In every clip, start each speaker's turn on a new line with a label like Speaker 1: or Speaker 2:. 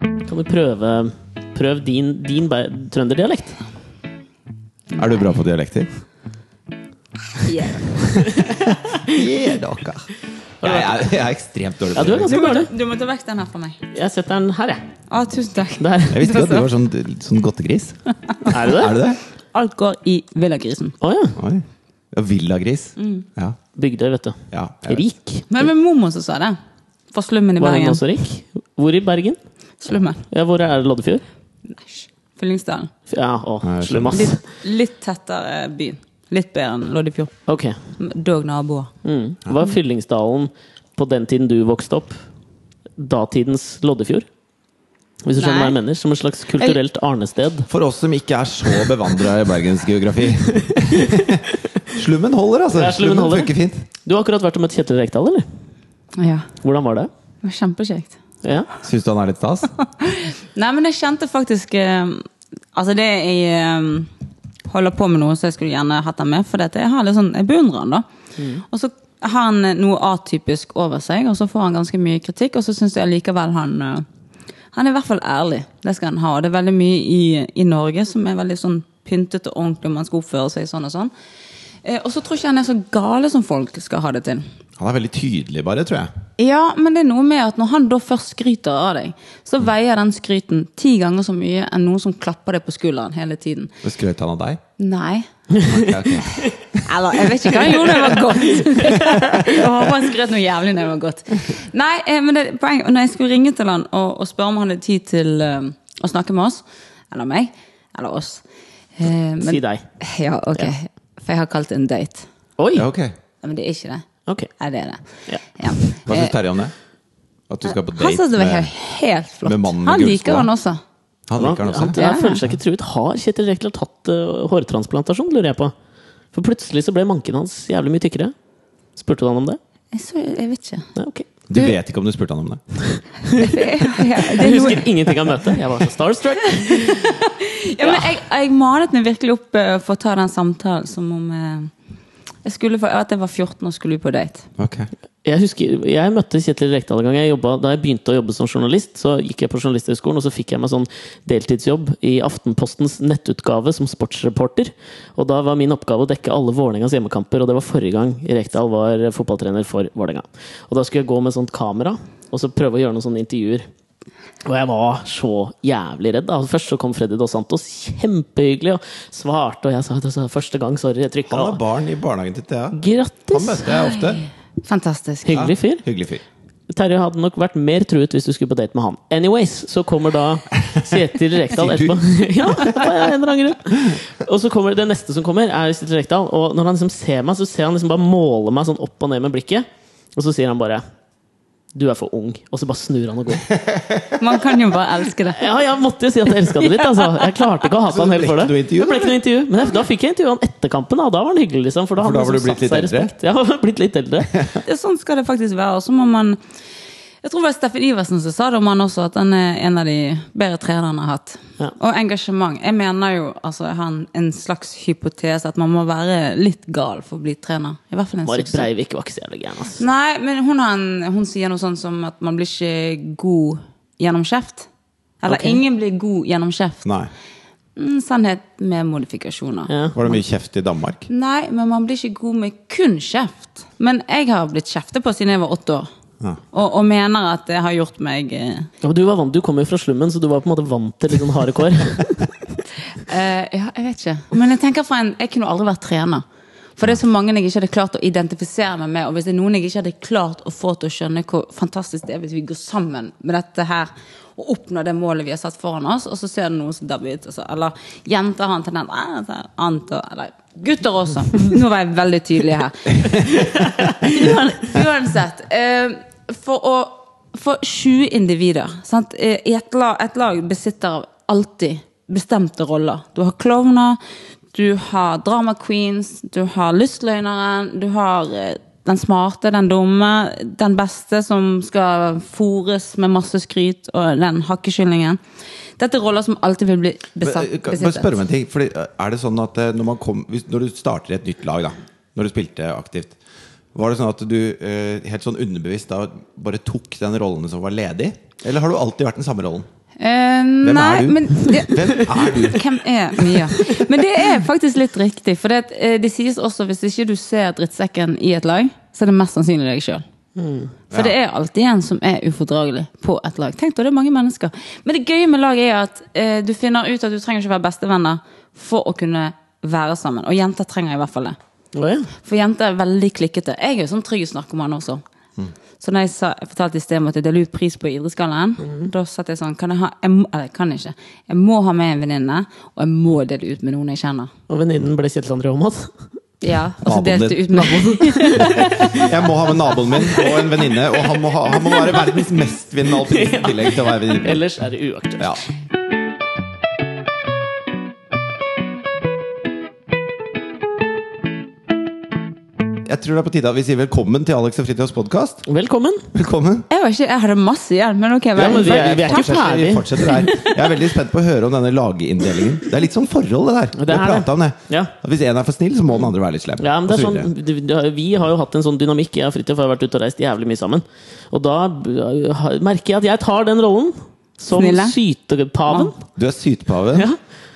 Speaker 1: Kan du prøve Prøv din, din bæ- trønderdialekt?
Speaker 2: Er du bra på dialekter?
Speaker 3: Yeah.
Speaker 2: Yeah, dere. Jeg, er- jeg er ekstremt dårlig
Speaker 1: Ja, du
Speaker 2: på
Speaker 1: er
Speaker 2: dialekter.
Speaker 3: Du,
Speaker 1: ganske
Speaker 3: må,
Speaker 1: dårlig.
Speaker 3: du må ta vekk den her fra meg.
Speaker 1: Jeg setter den her, jeg.
Speaker 3: Å, tusen takk.
Speaker 1: Der.
Speaker 2: Jeg visste ikke at du var sånn, sånn godtegris.
Speaker 1: Er du det?
Speaker 2: Er du det?
Speaker 3: Alt går i villagrisen.
Speaker 1: Å ja.
Speaker 2: Oi. Ja, Villagris.
Speaker 1: Mm.
Speaker 2: Ja.
Speaker 1: Bygdøy, vet du.
Speaker 2: ja jeg vet.
Speaker 1: Rik.
Speaker 3: Men det var mormor som sa det. Fra slummen i
Speaker 1: Var hun
Speaker 3: Bergen.
Speaker 1: også rik? Hvor i Bergen?
Speaker 3: Slummen.
Speaker 1: Ja, hvor er det Loddefjord?
Speaker 3: Æsj. Fyllingsdalen.
Speaker 1: Ja, å,
Speaker 2: Nei,
Speaker 1: slum, ass.
Speaker 3: Litt tettere by. Litt bedre enn Loddefjord.
Speaker 1: Ok.
Speaker 3: Dog naboer.
Speaker 1: Mm. Var Fyllingsdalen på den tiden du vokste opp, datidens Loddefjord? Hvis du skjønner hva jeg
Speaker 3: Nei.
Speaker 1: mener? Som et slags kulturelt arnested?
Speaker 2: For oss som ikke er så bevandra i bergensgeografi. slummen holder, altså.
Speaker 1: Ja, slummen holder.
Speaker 2: funker fint.
Speaker 1: Du har akkurat vært og møtt Kjetil Rekdal, eller?
Speaker 3: Ja.
Speaker 1: Hvordan var det?
Speaker 3: Det var kjempekjekt.
Speaker 1: Ja.
Speaker 2: Syns du han er litt stas?
Speaker 3: Nei, men jeg kjente faktisk eh, Altså, det jeg eh, holder på med noe, så jeg skulle gjerne hatt han med. For dette, jeg, har litt sånn, jeg beundrer han, da. Og så har han eh, noe atypisk over seg, og så får han ganske mye kritikk. Og så syns jeg allikevel han eh, Han er i hvert fall ærlig. Det skal han ha. Og det er veldig mye i, i Norge som er veldig sånn pyntet og ordentlig, og man skal oppføre seg sånn og sånn. Eh, Og så tror jeg ikke han er så gale som folk skal ha det til.
Speaker 2: Han er veldig tydelig, bare, tror jeg.
Speaker 3: Ja, men det er noe med at når han da først skryter av deg, så veier den skryten ti ganger så mye enn noen som klapper deg på skulderen hele tiden.
Speaker 2: Og Skrøt han av deg?
Speaker 3: Nei.
Speaker 2: Ok, ok.
Speaker 3: Eller, jeg vet ikke hva han gjorde da jeg var godt. Jeg håper han skrøt noe jævlig når jeg var godt. Nei, eh, men det, poeng, når jeg skulle ringe til han og, og spørre om han hadde tid til eh, å snakke med oss, eller meg, eller oss eh, men,
Speaker 1: Si deg.
Speaker 3: Ja, ok. For jeg har kalt det en date.
Speaker 1: Oi!
Speaker 2: Ja, ok.
Speaker 3: Men det er ikke det.
Speaker 1: Ok.
Speaker 3: Nei, det er det.
Speaker 1: Ja.
Speaker 2: Hva
Speaker 3: Eh,
Speaker 2: syns Terje om det? At du skal på
Speaker 3: Han
Speaker 2: date
Speaker 3: syntes det var
Speaker 2: med
Speaker 3: helt flott.
Speaker 2: med mannen med
Speaker 3: han liker
Speaker 2: gullskoa.
Speaker 3: han også.
Speaker 2: Han liker han
Speaker 1: Han,
Speaker 2: også?
Speaker 1: jeg
Speaker 3: Ja.
Speaker 1: føler seg ikke truet. Har Kjetil Rekdal tatt eh, hårtransplantasjon, lurer jeg på? For plutselig så ble manken hans jævlig mye tykkere. Spurte du han om det?
Speaker 3: Jeg, så, jeg vet ikke.
Speaker 1: Nei, ok.
Speaker 2: Du vet ikke om du spurte han om det?
Speaker 1: Jeg husker ingenting av møtet. Jeg var så starstruck.
Speaker 3: Ja, men jeg, jeg malet meg virkelig opp eh, for å ta den samtalen som om eh, jeg skulle, få- at jeg var 14 og skulle ut på date.
Speaker 2: Ok.
Speaker 1: Jeg husker, jeg møtte Kjetil Rekdal en gang. Jeg jobbet, da jeg begynte å jobbe som journalist, så gikk jeg på Journalisthøgskolen, og så fikk jeg meg sånn deltidsjobb i Aftenpostens nettutgave som sportsreporter. Og da var min oppgave å dekke alle Vålerengas hjemmekamper, og det var forrige gang Rekdal var fotballtrener for Vålerenga. Og da skulle jeg gå med sånt kamera, og så prøve å gjøre noen sånne intervjuer. Og jeg var så jævlig redd. Da. Først så kom Freddy Dos Santos, kjempehyggelig, og svarte, og jeg sa det var første gang, sorry, jeg trykka.
Speaker 2: Han er barn i barnehagen til Thea. Han
Speaker 1: Grattis!
Speaker 2: møter jeg ofte.
Speaker 3: Fantastisk.
Speaker 2: Ja,
Speaker 1: Hyggelig fyr.
Speaker 2: Hyggelig fyr.
Speaker 1: Terje hadde nok vært mer truet hvis du skulle på date med han. Anyways, så kommer da Kjetil Rekdal
Speaker 2: Sier du?
Speaker 1: etterpå. ja, av en eller annen grunn. Og så kommer det neste som kommer, er Kjetil Rekdal. Og når han liksom ser meg, så ser han liksom bare måle meg sånn opp og ned med blikket. Og så sier han bare 'Du er for ung'. Og så bare snur han og går.
Speaker 3: Man kan jo bare elske det.
Speaker 1: Ja, jeg måtte jo si at jeg elska det litt, altså. Jeg klarte ikke å hate
Speaker 2: Så
Speaker 1: han
Speaker 2: det
Speaker 1: helt
Speaker 2: ble
Speaker 1: for det.
Speaker 2: ikke noe intervju,
Speaker 1: Det ble ikke noe intervju. Men jeg- da fikk jeg intervjue han etter kampen, da, og da var han hyggelig, liksom. For da,
Speaker 2: For
Speaker 1: hadde
Speaker 2: da
Speaker 1: han
Speaker 2: var du
Speaker 1: liksom
Speaker 2: blitt
Speaker 1: satt
Speaker 2: litt
Speaker 1: seg i
Speaker 2: eldre?
Speaker 1: respekt. Ja, blitt litt eldre.
Speaker 3: det sånn skal det faktisk være. Og så må man Jeg tror det var Steffen Iversen som sa det om han også, at han er en av de bedre trenerne han har hatt.
Speaker 1: Ja.
Speaker 3: Og engasjement. Jeg mener jo altså, jeg har en, en slags hypotese at man må være litt gal for å bli trener. I hvert fall en
Speaker 1: Marit
Speaker 3: suksess.
Speaker 1: Breivik var ikke så jævlig gæren, altså. ass.
Speaker 3: Nei, men hun, har en, hun sier noe sånn som at man blir ikke god gjennom kjeft. Eller
Speaker 1: Ok.
Speaker 3: ingen blir god gjennom kjeft.
Speaker 2: Nei.
Speaker 3: Mm, sannhet med modifikasjoner.
Speaker 1: Ja.
Speaker 2: Var det mye kjeft i Danmark?
Speaker 3: Nei, men man blir ikke god med kun kjeft. Men jeg har blitt kjeftet på siden jeg var åtte år.
Speaker 2: Ja.
Speaker 3: Og, og mener at det har gjort meg eh,
Speaker 1: Ja, men du, var vant, du kom jo fra slummen, så du var på en måte vant til litt sånn harde kår.
Speaker 3: eh, Ja, jeg vet ikke. Men jeg tenker fra en Jeg kunne aldri vært trener. For det er så mange jeg ikke hadde klart å identifisere meg med. Og hvis det er noen jeg ikke hadde klart å få til å skjønne hvor fantastisk det er hvis vi går sammen med dette her og oppnår det målet vi har satt foran oss, og så ser du noen som dabber ut. Altså. Eller jenter har en tendens eh, altså, annet, og- Eller gutter også. Nå var jeg veldig tydelig her. Uan- Uansett. eh, for, å, for 20 individer sant? Eh, I et lag, et lag besitter alltid bestemte roller. Du har klovner, du har drama queens, du har lystløgneren, du har eh, den smarte, den dumme, den beste som skal fôres med masse skryt, og den hakkekyllingen. Dette er roller som alltid vil bli besatt,
Speaker 2: Men, eh, kan- Bare
Speaker 3: besittet.
Speaker 2: spørre om en ting. Fordi, er det sånn at eh, når, man kom, hvis, når du starter et nytt lag, da når du spilte aktivt, var det sånn at du eh, helt sånn underbevisst da bare tok den rollen som var ledig? Eller har du alltid vært den samme rollen?
Speaker 3: Eh,
Speaker 2: Hvem
Speaker 3: nei,
Speaker 2: er du?
Speaker 3: Men det,
Speaker 2: Hvem er du?
Speaker 3: Hvem er Mia? Men det er faktisk litt riktig. For det, at, eh, det sies også hvis ikke du ser drittsekken i et lag, så er det mest sannsynlig deg sjøl. For
Speaker 2: Ja.
Speaker 3: det er alltid en som er ufordragelig på et lag. Tenk deg, det er mange mennesker. Men det gøye med lag er at eh, du finner ut at du trenger ikke være bestevenner for å kunne være sammen. Og jenter trenger i hvert fall det.
Speaker 1: Å, ja.
Speaker 3: For jenter er veldig klikkete. Jeg er jo sånn trygghetsnarkoman også.
Speaker 2: Mm.
Speaker 3: Så når jeg, sa, jeg fortalte i sted om at jeg deler ut pris på idrettsgallaen,
Speaker 2: Mm.
Speaker 3: da satt jeg sånn kan jeg, ha, jeg, må, Eller jeg kan ikke. Jeg må ha med en venninne, og jeg må dele ut med noen jeg kjenner.
Speaker 1: Og venninnen ble Kjetil André Aamodt.
Speaker 3: Ja, Og så
Speaker 2: Naboen
Speaker 3: delte jeg ut med
Speaker 2: Jeg må ha med naboen min og en venninne, og han må, ha, han må være verdens mestvinnende alpinist i tillegg til å være venninne.
Speaker 1: Ellers er det uaktuelt.
Speaker 2: Ja. Jeg tror det er på tide at vi sier velkommen til Alex og Fridtjofs podkast.
Speaker 1: Velkommen!
Speaker 2: Velkommen.
Speaker 3: Jeg var ikke, jeg hadde masse igjen, men ok.
Speaker 1: Ja,
Speaker 3: vel.
Speaker 1: men vi er, vi er
Speaker 2: Vi
Speaker 1: ikke
Speaker 2: fortsetter- vi
Speaker 1: ferdig.
Speaker 2: fortsetter der. Jeg er veldig spent på å høre om denne laginndelingen. Det er litt sånn forhold, det der.
Speaker 1: Det
Speaker 2: Vi har
Speaker 1: er det.
Speaker 2: pratet om det.
Speaker 1: Ja.
Speaker 2: At hvis én er for snill, så må den andre være litt slem.
Speaker 1: Ja, men det er
Speaker 2: Og så videre.
Speaker 1: sånn, du- du- vi har jo hatt en sånn dynamikk. Jeg og Fridtjof har vært ute og reist jævlig mye sammen. Og da b- ha- merker jeg at jeg tar den rollen som
Speaker 3: Snille.
Speaker 1: sytepaven.
Speaker 2: Du er sytpaven.
Speaker 1: Ja.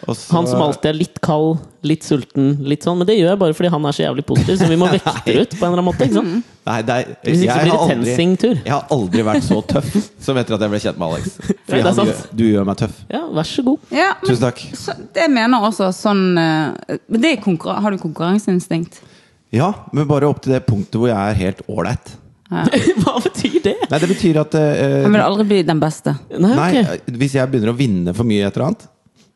Speaker 2: og så-
Speaker 1: Han som alltid er litt kald, litt sulten, litt sånn. Men det gjør jeg bare fordi han er så jævlig positiv, så vi må vekte det ut på en eller annen måte. ikke sant?
Speaker 2: Nei, det er,
Speaker 1: Hvis ikke så
Speaker 2: jeg
Speaker 1: blir
Speaker 2: har
Speaker 1: det
Speaker 2: aldri-
Speaker 1: TenSing-tur.
Speaker 2: Jeg har aldri vært så tøff som etter at jeg ble kjent med Alex. Fordi
Speaker 1: det er
Speaker 2: han
Speaker 1: sant.
Speaker 2: gjør, du gjør meg tøff.
Speaker 1: Ja, vær så god.
Speaker 3: Ja, men,
Speaker 2: Tusen takk.
Speaker 3: så, det mener jeg også sånn eh, Men det er konkurran har du konkurranseinstinkt?
Speaker 2: Ja, men bare opp til det punktet hvor jeg er helt ålreit.
Speaker 1: Hva betyr det?
Speaker 2: Nei, det betyr at eh,
Speaker 3: Jeg vil aldri bli den beste.
Speaker 1: Nei,
Speaker 2: Nei, eh,
Speaker 1: ok.
Speaker 2: hvis jeg begynner å vinne for mye i et eller annet,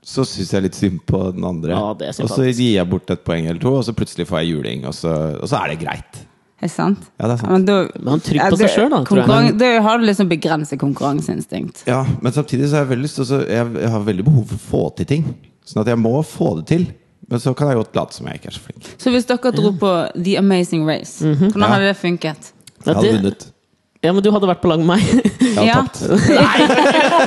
Speaker 2: så syns jeg litt synd på den andre.
Speaker 1: Ja, det er
Speaker 2: og så gir jeg bort et poeng eller to, og så plutselig får jeg juling, og så, og så er det greit.
Speaker 3: Er det sant?
Speaker 2: Ja, det er sant.
Speaker 3: Men, da-
Speaker 1: Men han er trygg
Speaker 3: Ja,
Speaker 1: på seg
Speaker 3: det-
Speaker 1: selv da, tror jeg.
Speaker 3: konkurran- Da har du liksom begrenset konkurranseinstinkt.
Speaker 2: Ja, Men samtidig så har jeg veldig lyst til å så- jeg, jeg har veldig behov for å få til ting. Sånn at jeg må få det til. Men så kan jeg godt late som jeg ikke er så flink.
Speaker 3: Så hvis dere dro på The Amazing Race, hvordan
Speaker 2: Ja.
Speaker 3: hadde det funket?
Speaker 1: Mhm. Ja,
Speaker 2: Jeg hadde
Speaker 1: det-
Speaker 2: vunnet.
Speaker 1: Ja, men du hadde vært på lag med meg.
Speaker 2: Jeg hadde
Speaker 3: Ja.
Speaker 2: tapt.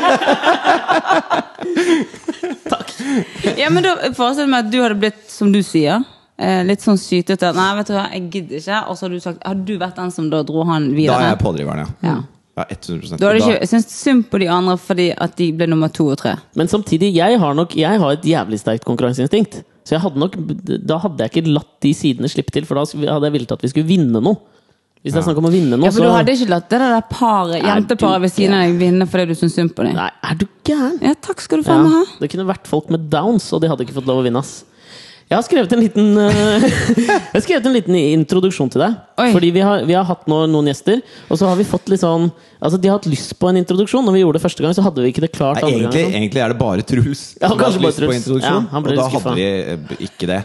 Speaker 3: Ja, men da Forestill meg at du hadde blitt som du sier. Eh, litt sånn sytete. Nei, vet du hva, jeg gidder ikke. Og så hadde du sagt Hadde du vært den som da dro han
Speaker 2: Da er
Speaker 3: videre?
Speaker 2: jeg pådriveren, ja.
Speaker 3: Ja.
Speaker 2: Ja, 100
Speaker 3: Da hadde
Speaker 2: Og
Speaker 3: du ikke syntes synd på de andre fordi at de ble nummer to og tre.
Speaker 1: Men samtidig, jeg har nok Jeg har et jævlig sterkt konkurranseinstinkt. Så jeg hadde nok, da hadde jeg ikke latt de sidene slippe til, for da hadde jeg villet at vi skulle vinne noe. Hvis det er snakk om å vinne noe,
Speaker 3: Ja, for Du
Speaker 1: så
Speaker 3: hadde ikke latt det der paret,
Speaker 1: Er du
Speaker 3: jenteparet ved siden av deg vinne fordi du syntes synd på dem?
Speaker 1: Nei, er du gæren?
Speaker 3: Ja, takk skal du
Speaker 1: Ja,
Speaker 3: faen meg ha.
Speaker 1: det kunne vært folk med downs, og de hadde ikke fått lov å vinne. ass Jeg har skrevet en liten eh, Jeg har skrevet en liten introduksjon til deg.
Speaker 3: Oi.
Speaker 1: Fordi vi har, vi har hatt nå noen gjester, og så har vi fått litt sånn Altså De har hatt lyst på en introduksjon. Når vi gjorde det første gang, så hadde vi ikke det klart.
Speaker 2: Nei,
Speaker 1: andre
Speaker 2: egentlig,
Speaker 1: gang,
Speaker 2: egentlig er det bare Truls
Speaker 1: Ja,
Speaker 2: som har
Speaker 1: kanskje
Speaker 2: hatt
Speaker 1: bare
Speaker 2: lyst på
Speaker 1: Truls.
Speaker 2: introduksjon.
Speaker 1: Ja, han ble
Speaker 2: og da
Speaker 1: litt
Speaker 2: hadde vi eh, ikke det.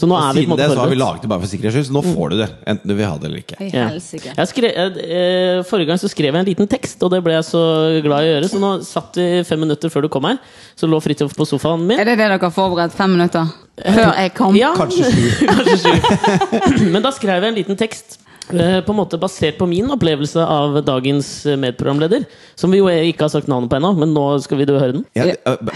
Speaker 1: så nå
Speaker 2: Og
Speaker 1: er vi på en måte
Speaker 2: siden
Speaker 1: Mm.
Speaker 2: det så har vi
Speaker 1: forberedt.
Speaker 2: laget det bare for sikkerhets skyld, så nå får du det. Enten du vil ha det eller ikke.
Speaker 3: I
Speaker 1: Ja.
Speaker 3: helsike.
Speaker 1: Jeg skre, eh, forrige gang så skrev jeg en liten tekst, og det ble jeg så glad i å gjøre. Så nå satt vi fem minutter før du kom her, så lå Fridtjof på sofaen min.
Speaker 3: Er det det dere har forberedt? Fem minutter? Før jeg kom?
Speaker 1: Ja.
Speaker 2: Kanskje sju.
Speaker 1: Kanskje sju. Men da skrev jeg en liten tekst. eh, På en måte Basert på min opplevelse av dagens eh, medprogramleder. Som vi jo ikke har sagt navnet på ennå, men nå skal vi da høre den.
Speaker 2: Ja, eh, b-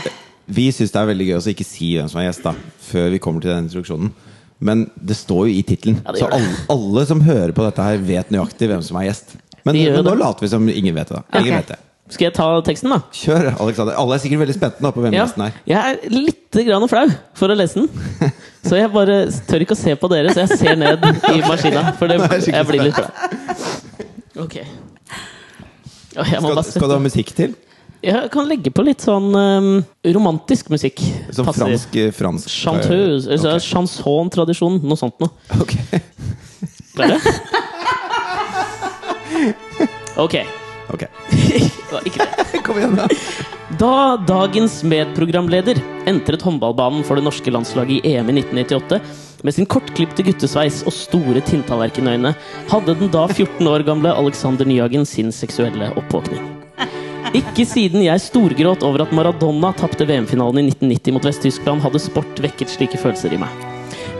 Speaker 2: vi syns det er veldig gøy å ikke si hvem som er gjest, da, før vi kommer til den introduksjonen. Men det står jo i tittelen,
Speaker 1: Ja, det
Speaker 2: så
Speaker 1: gjør det.
Speaker 2: alle, alle som hører på dette her, vet nøyaktig hvem som er gjest. Men,
Speaker 1: De gjør
Speaker 2: men nå
Speaker 1: det.
Speaker 2: later vi som ingen vet det. da. Ingen
Speaker 3: Ok.
Speaker 2: vet det.
Speaker 1: Skal jeg ta teksten, da?
Speaker 2: Kjør, Alexander. Alle er sikkert veldig spente nå på hvem
Speaker 1: Ja,
Speaker 2: gjesten er.
Speaker 1: jeg er litt grann flau for å lese den. Så jeg bare tør ikke å se på dere, så jeg ser ned i maskina. For det,
Speaker 2: Nå er jeg skikkelig
Speaker 1: jeg blir litt flau. Ok. Å, Jeg må
Speaker 2: Skal,
Speaker 1: bare
Speaker 2: skal du
Speaker 1: sette
Speaker 2: ha musikk til?
Speaker 1: Jeg kan legge på litt sånn eh, romantisk musikk.
Speaker 2: Som
Speaker 1: Passer.
Speaker 2: fransk, eh, fransk
Speaker 1: Chanteuse. Altså, Chanson-tradisjon. Noe sånt noe.
Speaker 2: Ok.
Speaker 1: Klare? Ok.
Speaker 2: Ok.
Speaker 1: Det var ikke det.
Speaker 2: Kom igjen, da.
Speaker 1: Da dagens medprogramleder entret håndballbanen for det norske landslaget i EM i 1998 med sin kortklipte guttesveis og store tinntallerkenøyne, hadde den da 14 år gamle Alexander Nyhagen sin seksuelle oppvåkning. Ikke siden jeg storgråt over at Maradona tapte VM-finalen i 1990 mot Vest-Tyskland, hadde sport vekket slike følelser i meg.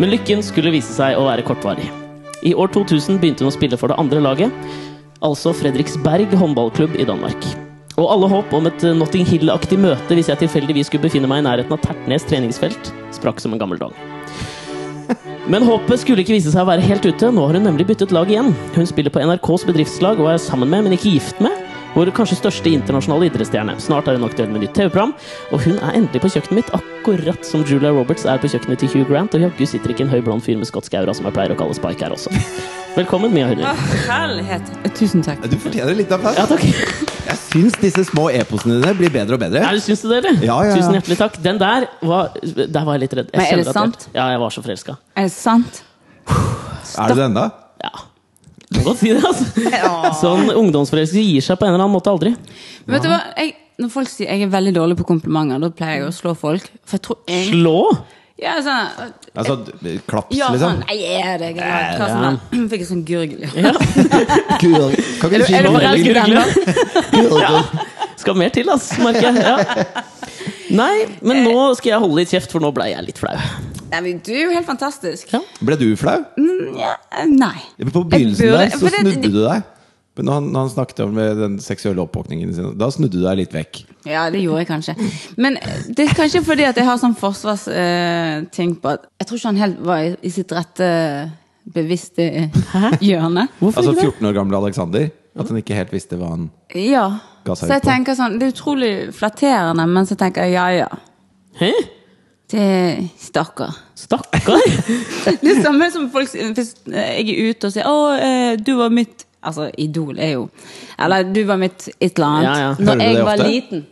Speaker 1: Men lykken skulle vise seg å være kortvarig. I år 2000 begynte hun å spille for det andre laget, altså Fredriksberg håndballklubb i Danmark. Og alle håp om et eh, Notting Hill-aktig møte hvis jeg tilfeldigvis skulle befinne meg i nærheten av Tertnes treningsfelt, sprakk som en gammel dong. Men håpet skulle ikke vise seg å være helt ute. Nå har hun nemlig byttet lag igjen. Hun spiller på NRKs bedriftslag og er sammen med, men ikke gift med, Vår kanskje største internasjonale idrettsstjerne. Snart er hun aktuell med nytt TV-program, og hun er endelig på kjøkkenet mitt, akkurat som Julia Roberts er på kjøkkenet til Hugh Grant, og jaggu sitter ikke en høy blond fyr med skotsk aura som jeg pleier å kalle Spike her også. Velkommen, Mia Hundin.
Speaker 3: Tusen takk.
Speaker 2: Du fortjener litt applaus.
Speaker 1: Ja, takk.
Speaker 2: Jeg syns disse små eposene dine blir bedre og bedre.
Speaker 1: Ja, du syns du det, eller?
Speaker 2: Ja, ja, ja.
Speaker 1: Tusen hjertelig takk. Den der var Der var jeg litt redd. Jeg
Speaker 3: Men er
Speaker 1: kjenner at
Speaker 3: det
Speaker 1: jeg-
Speaker 3: sant?
Speaker 1: Ja, jeg var så forelska.
Speaker 3: Er det sant?
Speaker 2: Er du det ennå?
Speaker 1: Ja. Du kan godt si det, altså. Sånn ungdomsforelskelse gir seg på en eller annen måte aldri.
Speaker 3: Men vet du hva? Jeg, når folk sier jeg er veldig dårlig på komplimenter, da pleier jeg å slå folk. For jeg tror jeg
Speaker 1: Slå!
Speaker 3: ja, sånn,
Speaker 2: Altså d- klaps,
Speaker 3: ja,
Speaker 2: liksom?
Speaker 3: sånn, Nei, jeg er det. Jeg er det. Hva sånn, da? Fikk jeg sånn gurgel. Ja.
Speaker 2: Gurg- Kan ikke du si
Speaker 1: Slå
Speaker 2: noe?
Speaker 1: er
Speaker 3: forelsket i
Speaker 1: gurgler.
Speaker 2: Gurgel.
Speaker 1: Skal mer til, ass, merker jeg. Ja. Nei, men
Speaker 3: Eh.
Speaker 1: nå skal jeg holde litt kjeft, for nå ble jeg litt flau.
Speaker 3: Nei, men du er jo helt fantastisk.
Speaker 1: Ja.
Speaker 2: Ble du flau?
Speaker 3: Mm, ja, nei.
Speaker 2: På begynnelsen
Speaker 3: burde-
Speaker 2: der så
Speaker 3: for det-
Speaker 2: snudde du deg. Men Når han, når han snakket om eh, den seksuelle oppvåkningen sin, da snudde du deg litt vekk.
Speaker 3: Ja, det gjorde jeg kanskje. Men det er kanskje fordi at jeg har sånn forsvarsting på at Jeg tror ikke han helt var i, i sitt rette eh, bevisste eh, hjørne.
Speaker 1: Hvorfor
Speaker 2: Altså
Speaker 1: ikke det?
Speaker 2: 14 år gamle Alexander. At han ikke helt visste hva han
Speaker 3: Ja.
Speaker 2: Ga
Speaker 3: Så
Speaker 2: seg ut
Speaker 3: jeg
Speaker 2: på.
Speaker 3: tenker sånn Det er utrolig flatterende, men så tenker jeg ja, ja.
Speaker 1: Hæ?
Speaker 3: Det Stakkar.
Speaker 1: Stakkar!
Speaker 3: Det er samme som folk Hvis jeg er ute og sier 'Å, eh, du var mitt' Altså, Idol er jo Eller 'du var mitt et eller annet'.
Speaker 1: Ja, ja.
Speaker 2: Hører
Speaker 3: Når
Speaker 2: du
Speaker 3: jeg
Speaker 2: det
Speaker 3: var
Speaker 2: ofte?
Speaker 3: liten.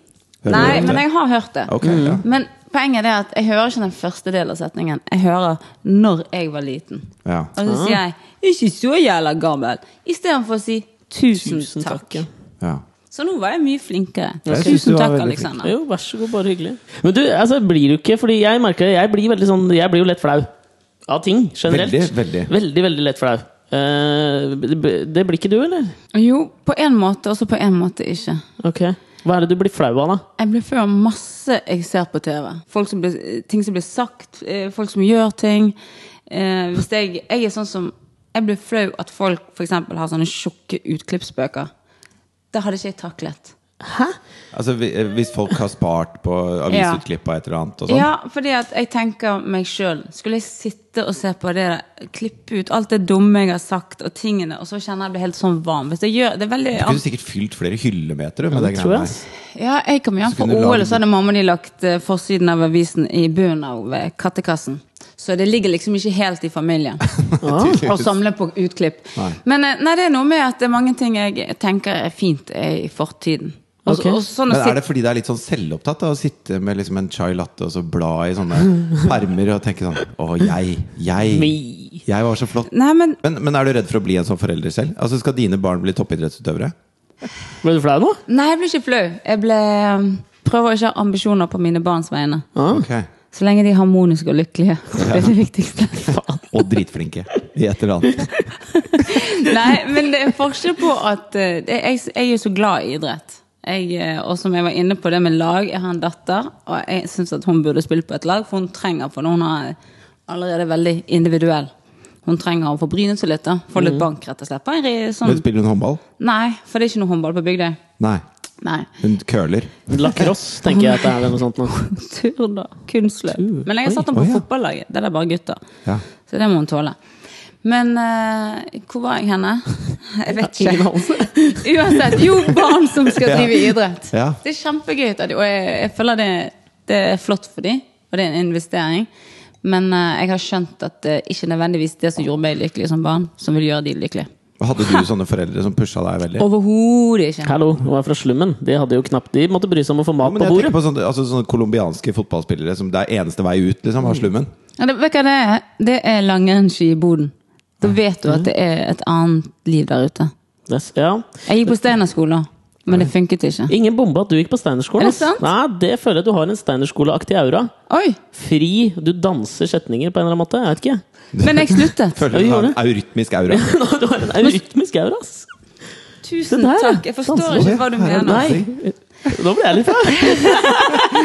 Speaker 2: Hører du
Speaker 3: Nei,
Speaker 2: det ofte?
Speaker 3: men jeg har hørt det. Mm.
Speaker 2: Ok, ja.
Speaker 3: Men poenget er at jeg hører ikke den første delen av setningen. Jeg hører 'når jeg var liten'.
Speaker 2: Ja.
Speaker 3: Og så sier jeg 'ikke så jævla gammel', istedenfor å si 'tusen,
Speaker 1: Tusen
Speaker 3: takk'.
Speaker 1: takk. ja.
Speaker 2: ja.
Speaker 3: Så nå var jeg mye flinkere.
Speaker 2: Jeg synes
Speaker 3: Tusen
Speaker 2: du var
Speaker 3: takk,
Speaker 2: veldig
Speaker 3: Alexander.
Speaker 1: Jo, vær så god, bare hyggelig. Men du, altså, blir du ikke Fordi jeg merker det, jeg blir veldig sånn Jeg blir jo lett flau av ting, generelt.
Speaker 2: Veldig, veldig.
Speaker 1: Veldig, veldig lett flau. Eh, det det blir ikke du, eller?
Speaker 3: Jo, på en måte, og så på en måte ikke.
Speaker 1: Ok. Hva er det du blir flau av, da?
Speaker 3: Jeg blir flau av masse jeg ser på TV. Folk som blir, ting som blir sagt, eh, folk som gjør ting. Eh, hvis jeg, jeg er sånn som Jeg blir flau at folk for eksempel har sånne tjukke utklippsbøker. Det hadde ikke jeg taklet.
Speaker 1: Hæ?
Speaker 2: Altså, vi- eh, hvis folk har spart på avisutklipp av et eller annet og sånn.
Speaker 3: Ja, fordi at jeg tenker meg sjøl. Skulle jeg sitte og se på det, der, klippe ut alt det dumme jeg har sagt, og tingene, og så kjenner jeg det helt sånn varm. Hvis jeg gjør, det er veldig
Speaker 2: Du kunne sikkert fylt flere hyllemeter du, med det
Speaker 1: Det tror jeg.
Speaker 2: greiene der.
Speaker 1: ass.
Speaker 3: Ja, jeg kom hjem
Speaker 2: Så
Speaker 3: fra
Speaker 2: kunne du
Speaker 3: OL,
Speaker 2: lage-
Speaker 3: og så hadde mamma og de lagt eh, forsiden av avisen i bunnen av eh, kattekassen. Så det ligger liksom ikke helt i familien å
Speaker 1: Altså,
Speaker 3: samle på utklipp.
Speaker 2: Nei.
Speaker 3: Men eh, nei, det er noe med at det er mange ting jeg tenker er fint eh, i fortiden. Og,
Speaker 1: Ok.
Speaker 3: og sånn å
Speaker 2: Men er det
Speaker 3: sitte-
Speaker 2: fordi det er litt sånn selvopptatt da, å sitte med liksom en chai latte og så bla i sånne permer og tenke sånn Å, jeg, jeg,
Speaker 1: Me.
Speaker 2: jeg var så flott.
Speaker 3: Nei, men
Speaker 2: Men, men er du redd for å bli en sånn forelder selv? Altså, Skal dine barn bli toppidrettsutøvere?
Speaker 1: Ble du flau nå?
Speaker 3: Nei, jeg ble ikke flau. Jeg ble eh, Prøver å ikke ha ambisjoner på mine barns vegne.
Speaker 1: Ah.
Speaker 2: Ok.
Speaker 3: Så lenge de er harmoniske og lykkelige. Det er det viktigste.
Speaker 2: Og dritflinke i et eller annet.
Speaker 3: Nei, men det er forskjell på at eh, det- jeg, jeg er jo så glad i idrett. Jeg, eh, og som jeg var inne på det med lag, jeg har en datter, og jeg syns at hun burde spille på et lag, for hun trenger for hun er allerede veldig individuell. Hun trenger å få bryne seg litt, da. Få litt bank, rett og slett. På en ri-
Speaker 2: Mm. Men
Speaker 3: sånn.
Speaker 2: spiller hun håndball?
Speaker 3: Nei, for det er ikke noe håndball på Bygdøy.
Speaker 2: Nei.
Speaker 3: Nei.
Speaker 2: Hun curler.
Speaker 1: Lacrosse, tenker jeg at det er eller noe sånt nå.
Speaker 3: Tur, da. Kunstløp. Men jeg har satt henne
Speaker 2: Oi, å,
Speaker 3: på
Speaker 2: ja.
Speaker 3: fotballaget. Det er bare gutter.
Speaker 2: Ja.
Speaker 3: Så det må hun tåle. Men eh, hvor var jeg henne? Jeg vet ikke.
Speaker 1: Ingen anelse.
Speaker 3: Uansett, jo barn som skal
Speaker 2: Ja.
Speaker 3: drive idrett.
Speaker 2: Ja.
Speaker 3: Det er kjempegøy, at de- og jeg, jeg føler det, det er flott for dem, og det er en investering. Men eh, jeg har skjønt at det ikke nødvendigvis det som gjorde meg lykkelig som barn, som vil gjøre de lykkelige.
Speaker 2: Og Hadde du sånne foreldre som pusha deg veldig?
Speaker 3: Overhodet ikke.
Speaker 1: Hallo, hun er fra slummen. De hadde jo knapt De måtte bry seg om å få
Speaker 2: Ja,
Speaker 1: mat
Speaker 2: men
Speaker 1: på
Speaker 2: jeg
Speaker 1: bordet.
Speaker 2: tenker på sånne, altså, sånne kolumbianske fotballspillere som det er eneste vei ut liksom,
Speaker 1: Mm.
Speaker 2: av slummen.
Speaker 3: Ja, det, vet du hva det er? Det er langrennsski i Boden. Da vet du at det er et annet liv der ute.
Speaker 1: Yes, ja.
Speaker 3: Jeg gikk på Steinerskolen, men det funket ikke.
Speaker 1: Ingen bombe at du gikk på Steinerskolen.
Speaker 3: Er det
Speaker 1: ass.
Speaker 3: sant?
Speaker 1: Nei, det føler jeg at du har en Steinerskole-aktig aura.
Speaker 3: Oi!
Speaker 1: Fri, du danser setninger på en eller annen måte. Jeg vet ikke.
Speaker 3: Men jeg sluttet.
Speaker 1: Ja,
Speaker 2: Føler du
Speaker 1: gjør
Speaker 2: har en eurytmisk aura?
Speaker 1: Nå, du har en rytmisk aura, ass.
Speaker 3: Tusen
Speaker 1: Det der,
Speaker 3: takk. Jeg forstår
Speaker 1: danser.
Speaker 3: ikke hva du mener.
Speaker 1: Nei. Nå ble jeg litt flau.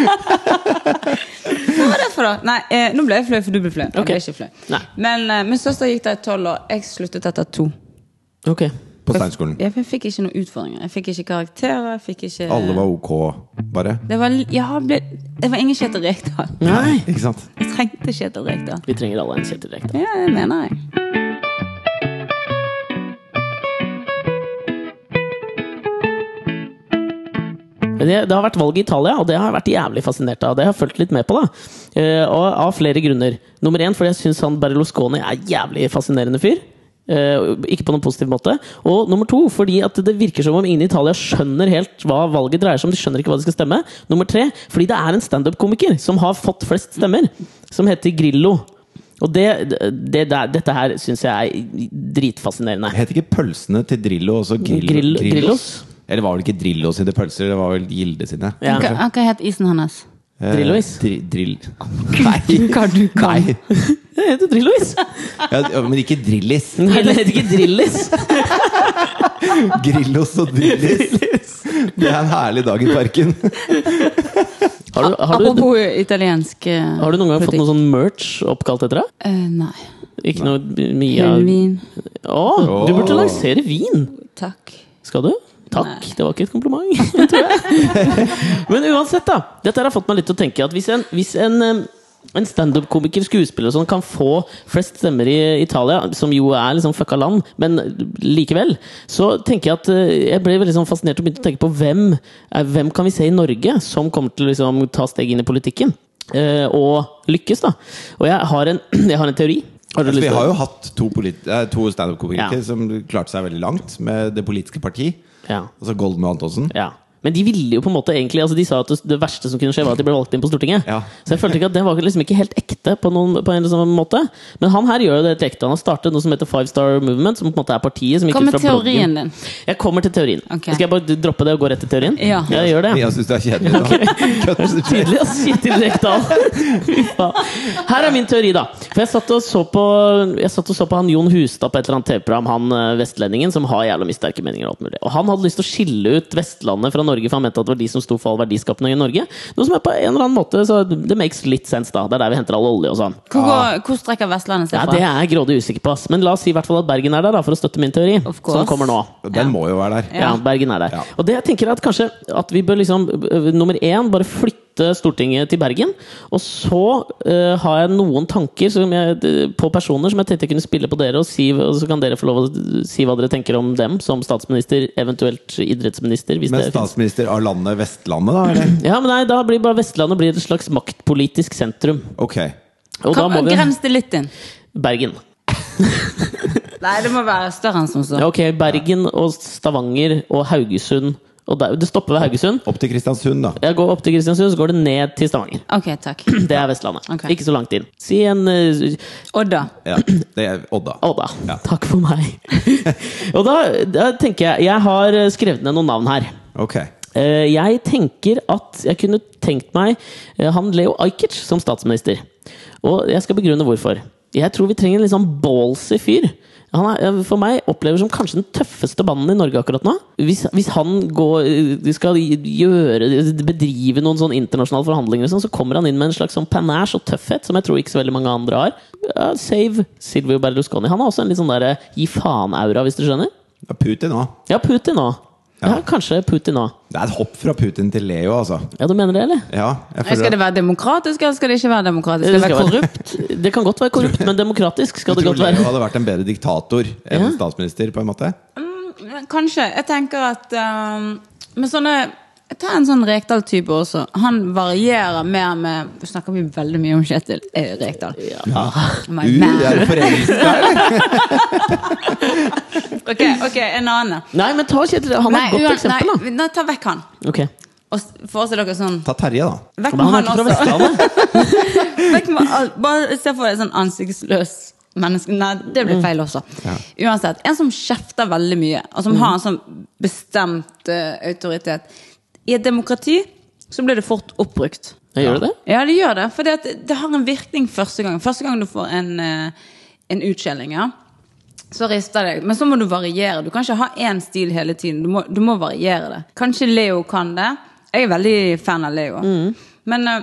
Speaker 3: Hva var det for da? Nei, eh, nå ble jeg flau, for du ble flau. Jeg
Speaker 1: Ok.
Speaker 3: ble ikke flau.
Speaker 1: Nei.
Speaker 3: Men eh, min søster gikk der i tolv år. Jeg sluttet etter to.
Speaker 1: Ok.
Speaker 2: På Steinskolen.
Speaker 3: Jeg fikk ikke noen utfordringer. Jeg fikk ikke karakterer. Jeg fikk ikke
Speaker 2: Alle var ok, bare.
Speaker 3: det var, ja, ble, det var ingen Kjetil Rekdal.
Speaker 1: Nei.
Speaker 2: Ikke sant?
Speaker 3: Jeg trengte Kjetil Rekdal.
Speaker 1: Vi trenger alle en Kjetil Rekdal.
Speaker 3: Ja, det mener jeg.
Speaker 1: Men det, det har vært valg i Italia, og det har jeg vært jævlig fascinert av. Det har jeg fulgt litt med på, da. Eh, og av flere grunner. Nummer én fordi jeg syns han Berlusconi er jævlig fascinerende fyr. Eh, ikke på noen positiv måte. Og nummer to fordi at det virker som om ingen i Italia skjønner helt hva valget dreier seg om. De skjønner ikke hva de skal stemme. Nummer tre fordi det er en standup-komiker som har fått flest stemmer, som heter Grillo. Og det, det, det, dette her syns jeg er dritfascinerende.
Speaker 2: Het ikke pølsene til Drillo også Grill,
Speaker 1: Grill-
Speaker 2: Grillos?
Speaker 1: Grillos?
Speaker 2: Eller var vel ikke Drillo sine pølser, det var vel Gilde sine.
Speaker 1: Ja.
Speaker 3: Hva, hva het isen hans?
Speaker 2: Eh,
Speaker 1: Drillois?
Speaker 2: Dri, drill... Nei.
Speaker 3: Hva du kan.
Speaker 2: Nei.
Speaker 1: Det heter Drillois!
Speaker 2: Ja, ja, men ikke Drillis.
Speaker 1: Nei, det heter ikke Drillis!
Speaker 2: Grillos og Drillis. Det er en herlig dag i parken.
Speaker 1: Har du, har du,
Speaker 3: Apropos italiensk eh,
Speaker 1: Har du noen gang fått
Speaker 3: politikk.
Speaker 1: noe sånn merch oppkalt etter deg?
Speaker 3: Eh, nei.
Speaker 1: Ikke noe b- Mia Å,
Speaker 3: Hellvin.
Speaker 1: du burde lansere vin!
Speaker 3: Takk.
Speaker 1: Skal du? Takk, det var ikke et kompliment, tror jeg. Men uansett, da. Dette her har fått meg litt til å tenke at hvis en, hvis en eh, en standup-komiker, skuespiller og sånn kan få flest stemmer i Italia, som jo er liksom fucka land, men likevel, så tenker jeg at eh, jeg ble veldig sånn fascinert og begynte å tenke på hvem, eh, hvem kan vi se i Norge som kommer til å liksom ta steg inn i politikken? eh, Og lykkes, da. Og jeg har en, jeg har en teori. Har du lyst
Speaker 2: Altså, Vi
Speaker 1: til å-
Speaker 2: har jo hatt to, polit- eh, to standup-komikere
Speaker 1: Ja.
Speaker 2: som klarte seg veldig langt med det politiske parti.
Speaker 1: Ja.
Speaker 2: Altså Goldmø Antonsen.
Speaker 1: Ja. Men de ville jo på en måte egentlig altså De sa at det verste som kunne skje, var at de ble valgt inn på Stortinget.
Speaker 2: Ja.
Speaker 1: Så jeg følte ikke at det var liksom ikke helt ekte på, noen, på en eller annen måte. Men han her gjør jo det helt ekte. Han har startet noe som heter Five Star Movement, som på en måte er partiet som gikk
Speaker 3: Hva
Speaker 1: ut
Speaker 3: med
Speaker 1: fra bloggen.
Speaker 3: teorien din?
Speaker 1: Jeg kommer til teorien.
Speaker 3: Ok.
Speaker 1: Skal jeg bare droppe det og gå rett til teorien?
Speaker 3: Ja.
Speaker 1: Jeg gjør det.
Speaker 2: Mia syns du er kjedelig. da. Kødd.
Speaker 1: Tydelig, ass. Kjetil Rekdal. Fy faen. Her er min teori, da. For jeg satt og så på, jeg satt og så på han Jon Hustad på et eller annet TV-program, han eh, vestlendingen som har jævla mye sterke meninger og alt mulig. Og han hadde lyst til å skille ut Vestlandet fra Norge, for han mente at det var de som sto for all verdiskapning i Norge. Noe som er på en eller annen måte Så det makes litt sense, da. Det er der vi henter all olje og sånn.
Speaker 3: Hvor, går, hvor strekker Vestlandet seg
Speaker 1: Ja,
Speaker 3: fra?
Speaker 1: det er jeg grådig usikker på, ass. Men la oss si i hvert fall at Bergen er der, da, for å støtte min teori.
Speaker 3: Of course.
Speaker 1: Som kommer nå.
Speaker 2: Den må jo være der.
Speaker 1: Ja, Bergen er der.
Speaker 2: Ja.
Speaker 1: Og det jeg tenker er at kanskje at vi bør liksom øh, nummer én bare flytte Stortinget til Bergen. Og så øh, har jeg noen tanker som jeg, d- på personer som jeg tenkte jeg kunne spille på dere, og, si, og så kan dere få lov å d- si hva dere tenker om dem som statsminister, eventuelt idrettsminister. Hvis
Speaker 2: Men
Speaker 1: det finnes.
Speaker 2: statsminister av landet Vestlandet, da? Eller?
Speaker 1: Ja, men nei, da blir bare Vestlandet blir et slags maktpolitisk sentrum.
Speaker 2: Ok.
Speaker 1: Og da må
Speaker 3: Kan,
Speaker 1: vi
Speaker 3: grens det litt inn.
Speaker 1: Bergen.
Speaker 3: Nei, det må være større enn som så.
Speaker 1: Ja, ok, Bergen og Stavanger og Haugesund. Og der, det stopper ved Haugesund.
Speaker 2: Opp til Kristiansund, da.
Speaker 1: Jeg går opp til Kristiansund, så går det ned til Stavanger.
Speaker 3: Ok, takk.
Speaker 1: Det er Vestlandet.
Speaker 3: Ok.
Speaker 1: Ikke så langt inn. Si en eh,
Speaker 3: Odda.
Speaker 2: Ja, det er Odda.
Speaker 1: Odda.
Speaker 2: Ja.
Speaker 1: Takk for meg. og da, da tenker jeg Jeg har eh, skrevet ned noen navn her.
Speaker 2: Ok.
Speaker 1: Eh, Jeg tenker at jeg kunne tenkt meg eh, han Leo Ajkic som statsminister. Og jeg skal begrunne hvorfor. Jeg tror vi trenger en litt sånn ballsy fyr. Han er, eh, for meg opplever som kanskje den tøffeste mannen i Norge akkurat nå. Hvis, hvis han går, eh, skal gjøre, bedrive noen sånn internasjonale forhandlinger, og sånn, så kommer han inn med en slags sånn panache og tøffhet som jeg tror ikke så veldig mange andre har. Eh, Save Silvio Berlusconi. Han har også en litt sånn der, eh, gi faen-aura, hvis du skjønner.
Speaker 2: Ja, Putin òg.
Speaker 1: Ja, Putin òg. Ja.
Speaker 2: Ja.
Speaker 1: kanskje Putin òg.
Speaker 2: Det er et hopp fra Putin til Leo, altså.
Speaker 1: Ja, du mener det, eller?
Speaker 2: Ja, jeg
Speaker 3: Skal
Speaker 2: føler
Speaker 3: det være demokratisk, eller skal det ikke være demokratisk? Skal det være korrupt?
Speaker 1: korrupt? Det kan godt være korrupt, men demokratisk skal
Speaker 2: Jeg
Speaker 1: det
Speaker 2: tror
Speaker 1: godt
Speaker 2: Leo
Speaker 1: være.
Speaker 2: hadde vært en bedre diktator enn
Speaker 1: Ja.
Speaker 2: en statsminister, på en måte.
Speaker 3: Kanskje. Jeg tenker at ehm, Med sånne Ta en sånn Rekdal-type også. Han varierer mer med Nå snakker vi veldig mye om Kjetil eh, Rekdal.
Speaker 1: Ah,
Speaker 3: Oh My
Speaker 2: Uh,
Speaker 3: man.
Speaker 2: er det forelskelse der, eller?
Speaker 3: Ok, ok, en annen.
Speaker 1: Nei, men ta Kjetil. Han er et godt
Speaker 3: uan-
Speaker 1: eksempel, da.
Speaker 3: nei, nei, ta vekk han.
Speaker 1: Ok.
Speaker 3: Og s- forestill dere sånn
Speaker 2: Ta Terje, da.
Speaker 3: Vekk
Speaker 1: Men
Speaker 3: med
Speaker 1: han er
Speaker 3: han
Speaker 1: ikke fra
Speaker 3: også.
Speaker 1: Vestlandet.
Speaker 3: Vekk med, all- bare se for deg sånn ansiktsløs menneske. Nei, det
Speaker 1: Mm.
Speaker 3: blir feil også. Uansett. En som kjefter veldig mye, og
Speaker 1: Mm.
Speaker 3: som har en sånn bestemt eh, autoritet. I et demokrati så blir det fort oppbrukt.
Speaker 1: Ja, Gjør du det?
Speaker 3: Ja, det gjør det. For det, det har en virkning første gang. Første gang du får en, eh, en utskjelling, ja. Så rister det. Men så må du variere. Du kan ikke ha én stil hele tiden. Du må, du må variere det. Kanskje Leo kan det. Jeg er veldig fan av Leo. Men eh,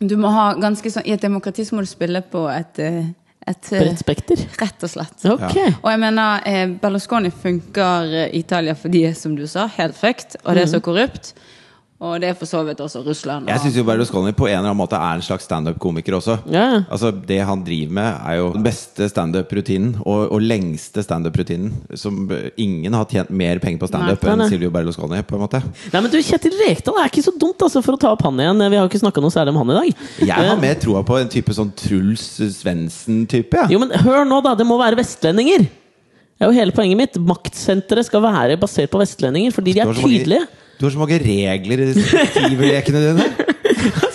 Speaker 3: du må ha ganske sånn I et demokrati så må du spille på et, eh, et eh,
Speaker 1: Bredt spekter.
Speaker 3: Rett og slett.
Speaker 1: Ok.
Speaker 3: Og jeg mener, eh, Berlusconi funker eh, i Italia fordi, som du sa, helt fucked, og det er så korrupt. Og det er for så vidt også Russland.
Speaker 2: Jeg syns
Speaker 3: Og,
Speaker 2: jo Berlusconi på en eller annen måte er en slags standup-komiker også.
Speaker 1: Ja.
Speaker 2: Altså Det han driver med, er jo den beste standup-rutinen og, og lengste standup-rutinen. Som ingen har tjent mer penger på standup
Speaker 1: Nei, nei,
Speaker 2: enn
Speaker 1: nei.
Speaker 2: Silvio Berlusconi, på en måte.
Speaker 1: Nei, men du, Kjetil Rekdal er ikke så dumt, altså, for å ta opp han igjen. Vi har jo ikke snakka noe særlig om han i dag.
Speaker 2: Jeg har
Speaker 1: Eh,
Speaker 2: mer troa på en type sånn Truls Svendsen-type. Ja.
Speaker 1: Jo, men hør nå, da! Det må være vestlendinger! Det er jo hele poenget mitt. Maktsenteret skal være basert på vestlendinger, fordi de
Speaker 2: Du
Speaker 1: er
Speaker 2: har så mange-
Speaker 1: tydelige.
Speaker 2: Du har så mange regler i disse tiverlekene dine.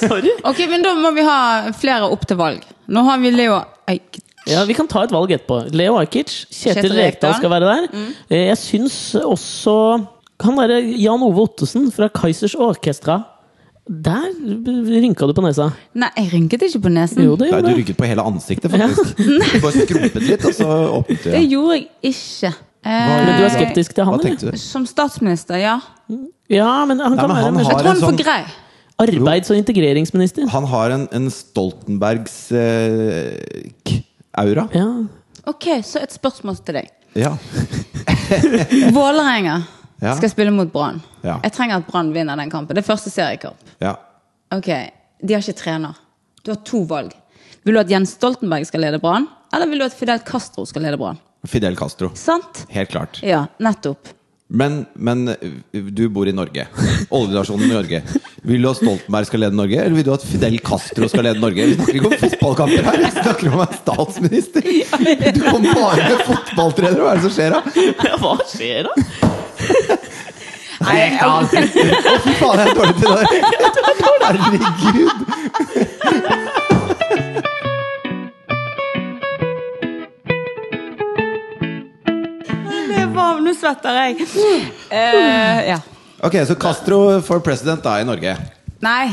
Speaker 1: Sorry!
Speaker 3: ok, men da må vi ha flere opp til valg. Nå har vi Leo Eik.
Speaker 1: Ja, Vi kan ta et valg etterpå. Leo Ajkic. Kjetil,
Speaker 3: Kjetil
Speaker 1: Rekdal
Speaker 3: Rekdal.
Speaker 1: skal være der. Eh, Jeg syns også han derre Jan Ove Ottesen fra Kaizers Orkestra Der rynka du på nesa.
Speaker 3: Nei, jeg rynket ikke på nesen.
Speaker 1: Jo, det
Speaker 2: Nei,
Speaker 1: gjorde
Speaker 2: du
Speaker 1: jeg.
Speaker 2: rykket på hele ansiktet, faktisk. Du bare skrumpet litt, og så opp til
Speaker 3: Det gjorde jeg ikke. Eh,
Speaker 1: Men du er skeptisk til han,
Speaker 2: Hva
Speaker 1: eller?
Speaker 2: tenkte du?
Speaker 3: Som statsminister, ja.
Speaker 1: Ja, men han
Speaker 2: Nei,
Speaker 1: kan være
Speaker 2: men han
Speaker 1: mer
Speaker 2: har
Speaker 3: Jeg tror han
Speaker 2: en
Speaker 3: er for
Speaker 2: sånn-
Speaker 3: grei.
Speaker 1: arbeids- og integreringsminister.
Speaker 2: Han har en, en Stoltenbergs eh, k- aura.
Speaker 1: Ja.
Speaker 3: Ok, så et spørsmål til deg.
Speaker 2: Ja.
Speaker 3: Vålerenga
Speaker 2: Ja.
Speaker 3: skal spille mot Brann.
Speaker 2: Ja.
Speaker 3: Jeg trenger at Brann vinner den kampen. Det er første seriekamp.
Speaker 2: ja.
Speaker 3: Ok, De har ikke trener. Du har to valg. Vil du at Jens Stoltenberg skal lede Brann, eller vil du at Fidel Castro skal lede Brann?
Speaker 2: Fidel Castro.
Speaker 3: Sant?
Speaker 2: Helt klart.
Speaker 3: Ja, nettopp.
Speaker 2: Men, men du bor i Norge. Oljenasjonen Norge. Vil du at Stoltenberg skal lede Norge, eller vil du at Fidel Castro skal lede Norge? Vi snakker ikke om fotballkamper her, vi snakker om en statsminister! Du kom bare med fotballtrenere, hva er det som skjer da?
Speaker 1: Hva skjer da?
Speaker 2: Ja, Å, fy faen, jeg er dårlig til det der! Herregud!
Speaker 3: Det var, nå svetter jeg. Eh, ja.
Speaker 2: Ok, så Castro for president da i Norge.
Speaker 3: Nei,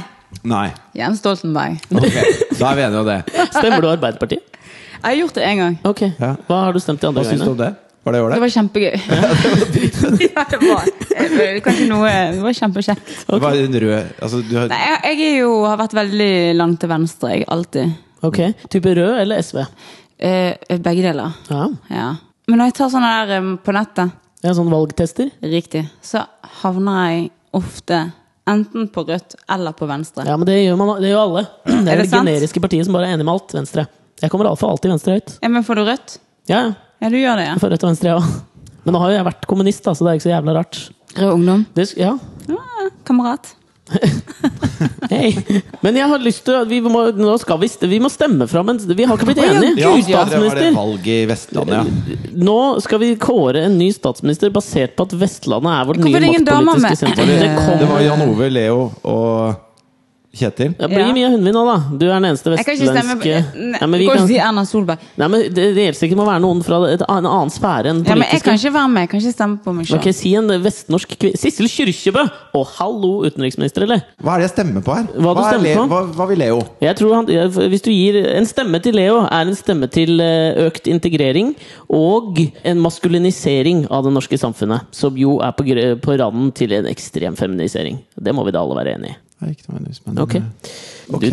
Speaker 2: Nei.
Speaker 3: Jens Stoltenberg.
Speaker 2: Ok, Da er vi enige om det.
Speaker 1: Stemmer du Arbeiderpartiet?
Speaker 3: Jeg har gjort det én gang.
Speaker 1: Ok,
Speaker 2: Ja.
Speaker 1: Hva har du stemt i andre
Speaker 2: Hva syns du
Speaker 1: gangene?
Speaker 2: om det? Var det
Speaker 3: Det
Speaker 2: ålreit?
Speaker 3: var kjempegøy. Ja, det var Det var ikke noe Det var kjempekjekt.
Speaker 2: Det var en rød altså, du har,
Speaker 3: Nei, jeg, jeg er jo, har vært veldig langt til venstre, jeg. Alltid.
Speaker 1: Ok, Type rød eller SV?
Speaker 3: Eh, begge deler.
Speaker 1: Ja,
Speaker 3: Ja. Men når jeg tar sånne der eh, på nettet,
Speaker 1: ja Sånn valgtester?
Speaker 3: riktig, så havner jeg ofte enten på rødt eller på venstre.
Speaker 1: Ja, men det gjør, man, det gjør alle. Det
Speaker 3: Er
Speaker 1: er
Speaker 3: det
Speaker 1: det
Speaker 3: sant?
Speaker 1: generiske partiet som bare er enig med alt. Venstre. Jeg kommer iallfall alltid venstre høyt.
Speaker 3: Ja, men får du rødt?
Speaker 1: Ja, ja.
Speaker 3: Ja, du gjør det,
Speaker 1: Jeg får rødt og venstre, jeg òg. Men nå har jo jeg vært kommunist, da, så det er ikke så jævla rart.
Speaker 3: ja. Rød ungdom.
Speaker 1: Det, sk- ja,
Speaker 3: Ja, kamerat.
Speaker 1: hei. Men jeg har lyst til at vi må, nå skal vi, st- vi må stemme fram en Vi har ikke blitt
Speaker 3: Å, ja, altså,
Speaker 1: enige!
Speaker 2: ja,
Speaker 3: Gud,
Speaker 2: det var det
Speaker 1: statsminister!
Speaker 2: valg i Vestlandet, ja.
Speaker 1: Nå skal vi kåre en ny statsminister basert på at Vestlandet er vårt
Speaker 3: Hvorfor
Speaker 1: nye
Speaker 3: er det ingen damer
Speaker 1: maktpolitiske
Speaker 3: med?
Speaker 1: sentrum.
Speaker 2: Det,
Speaker 1: Det kommer-
Speaker 2: det var Jan Ove, Leo og Kjetil.
Speaker 1: Det blir
Speaker 3: Ja.
Speaker 1: mye Hundvin nå, da. Du er den eneste
Speaker 3: Jeg kan ikke stemme på
Speaker 1: vestlandske
Speaker 3: Nei,
Speaker 1: Nei, men
Speaker 3: Du
Speaker 1: vi
Speaker 3: kan
Speaker 1: kan...
Speaker 3: ikke si Erna Solberg.
Speaker 1: Nei, men det reelt sikkert må være noen fra et, en annen sfære enn
Speaker 3: Ja, men jeg
Speaker 1: politiske.
Speaker 3: kan ikke være med. Jeg kan ikke stemme på meg sjøl.
Speaker 1: Ok, Si en vestnorsk kvinne Sissel Kyrkjebø! Å, hallo, utenriksminister, eller?
Speaker 2: Hva er det jeg stemmer på her?
Speaker 1: Hva du
Speaker 2: er
Speaker 1: stemmer
Speaker 2: Leo,
Speaker 1: på?
Speaker 2: hva, hva vil Leo?
Speaker 1: Jeg tror han, jeg- Hvis du gir En stemme til Leo er en stemme til eh, økt integrering og en maskulinisering av det norske samfunnet, som jo er på, gr- på randen til en ekstrem feminisering. Det må vi da alle være enig i.
Speaker 2: Nei, ikke noe nyss, men eh,
Speaker 1: Ok.
Speaker 2: Ok.
Speaker 1: Du-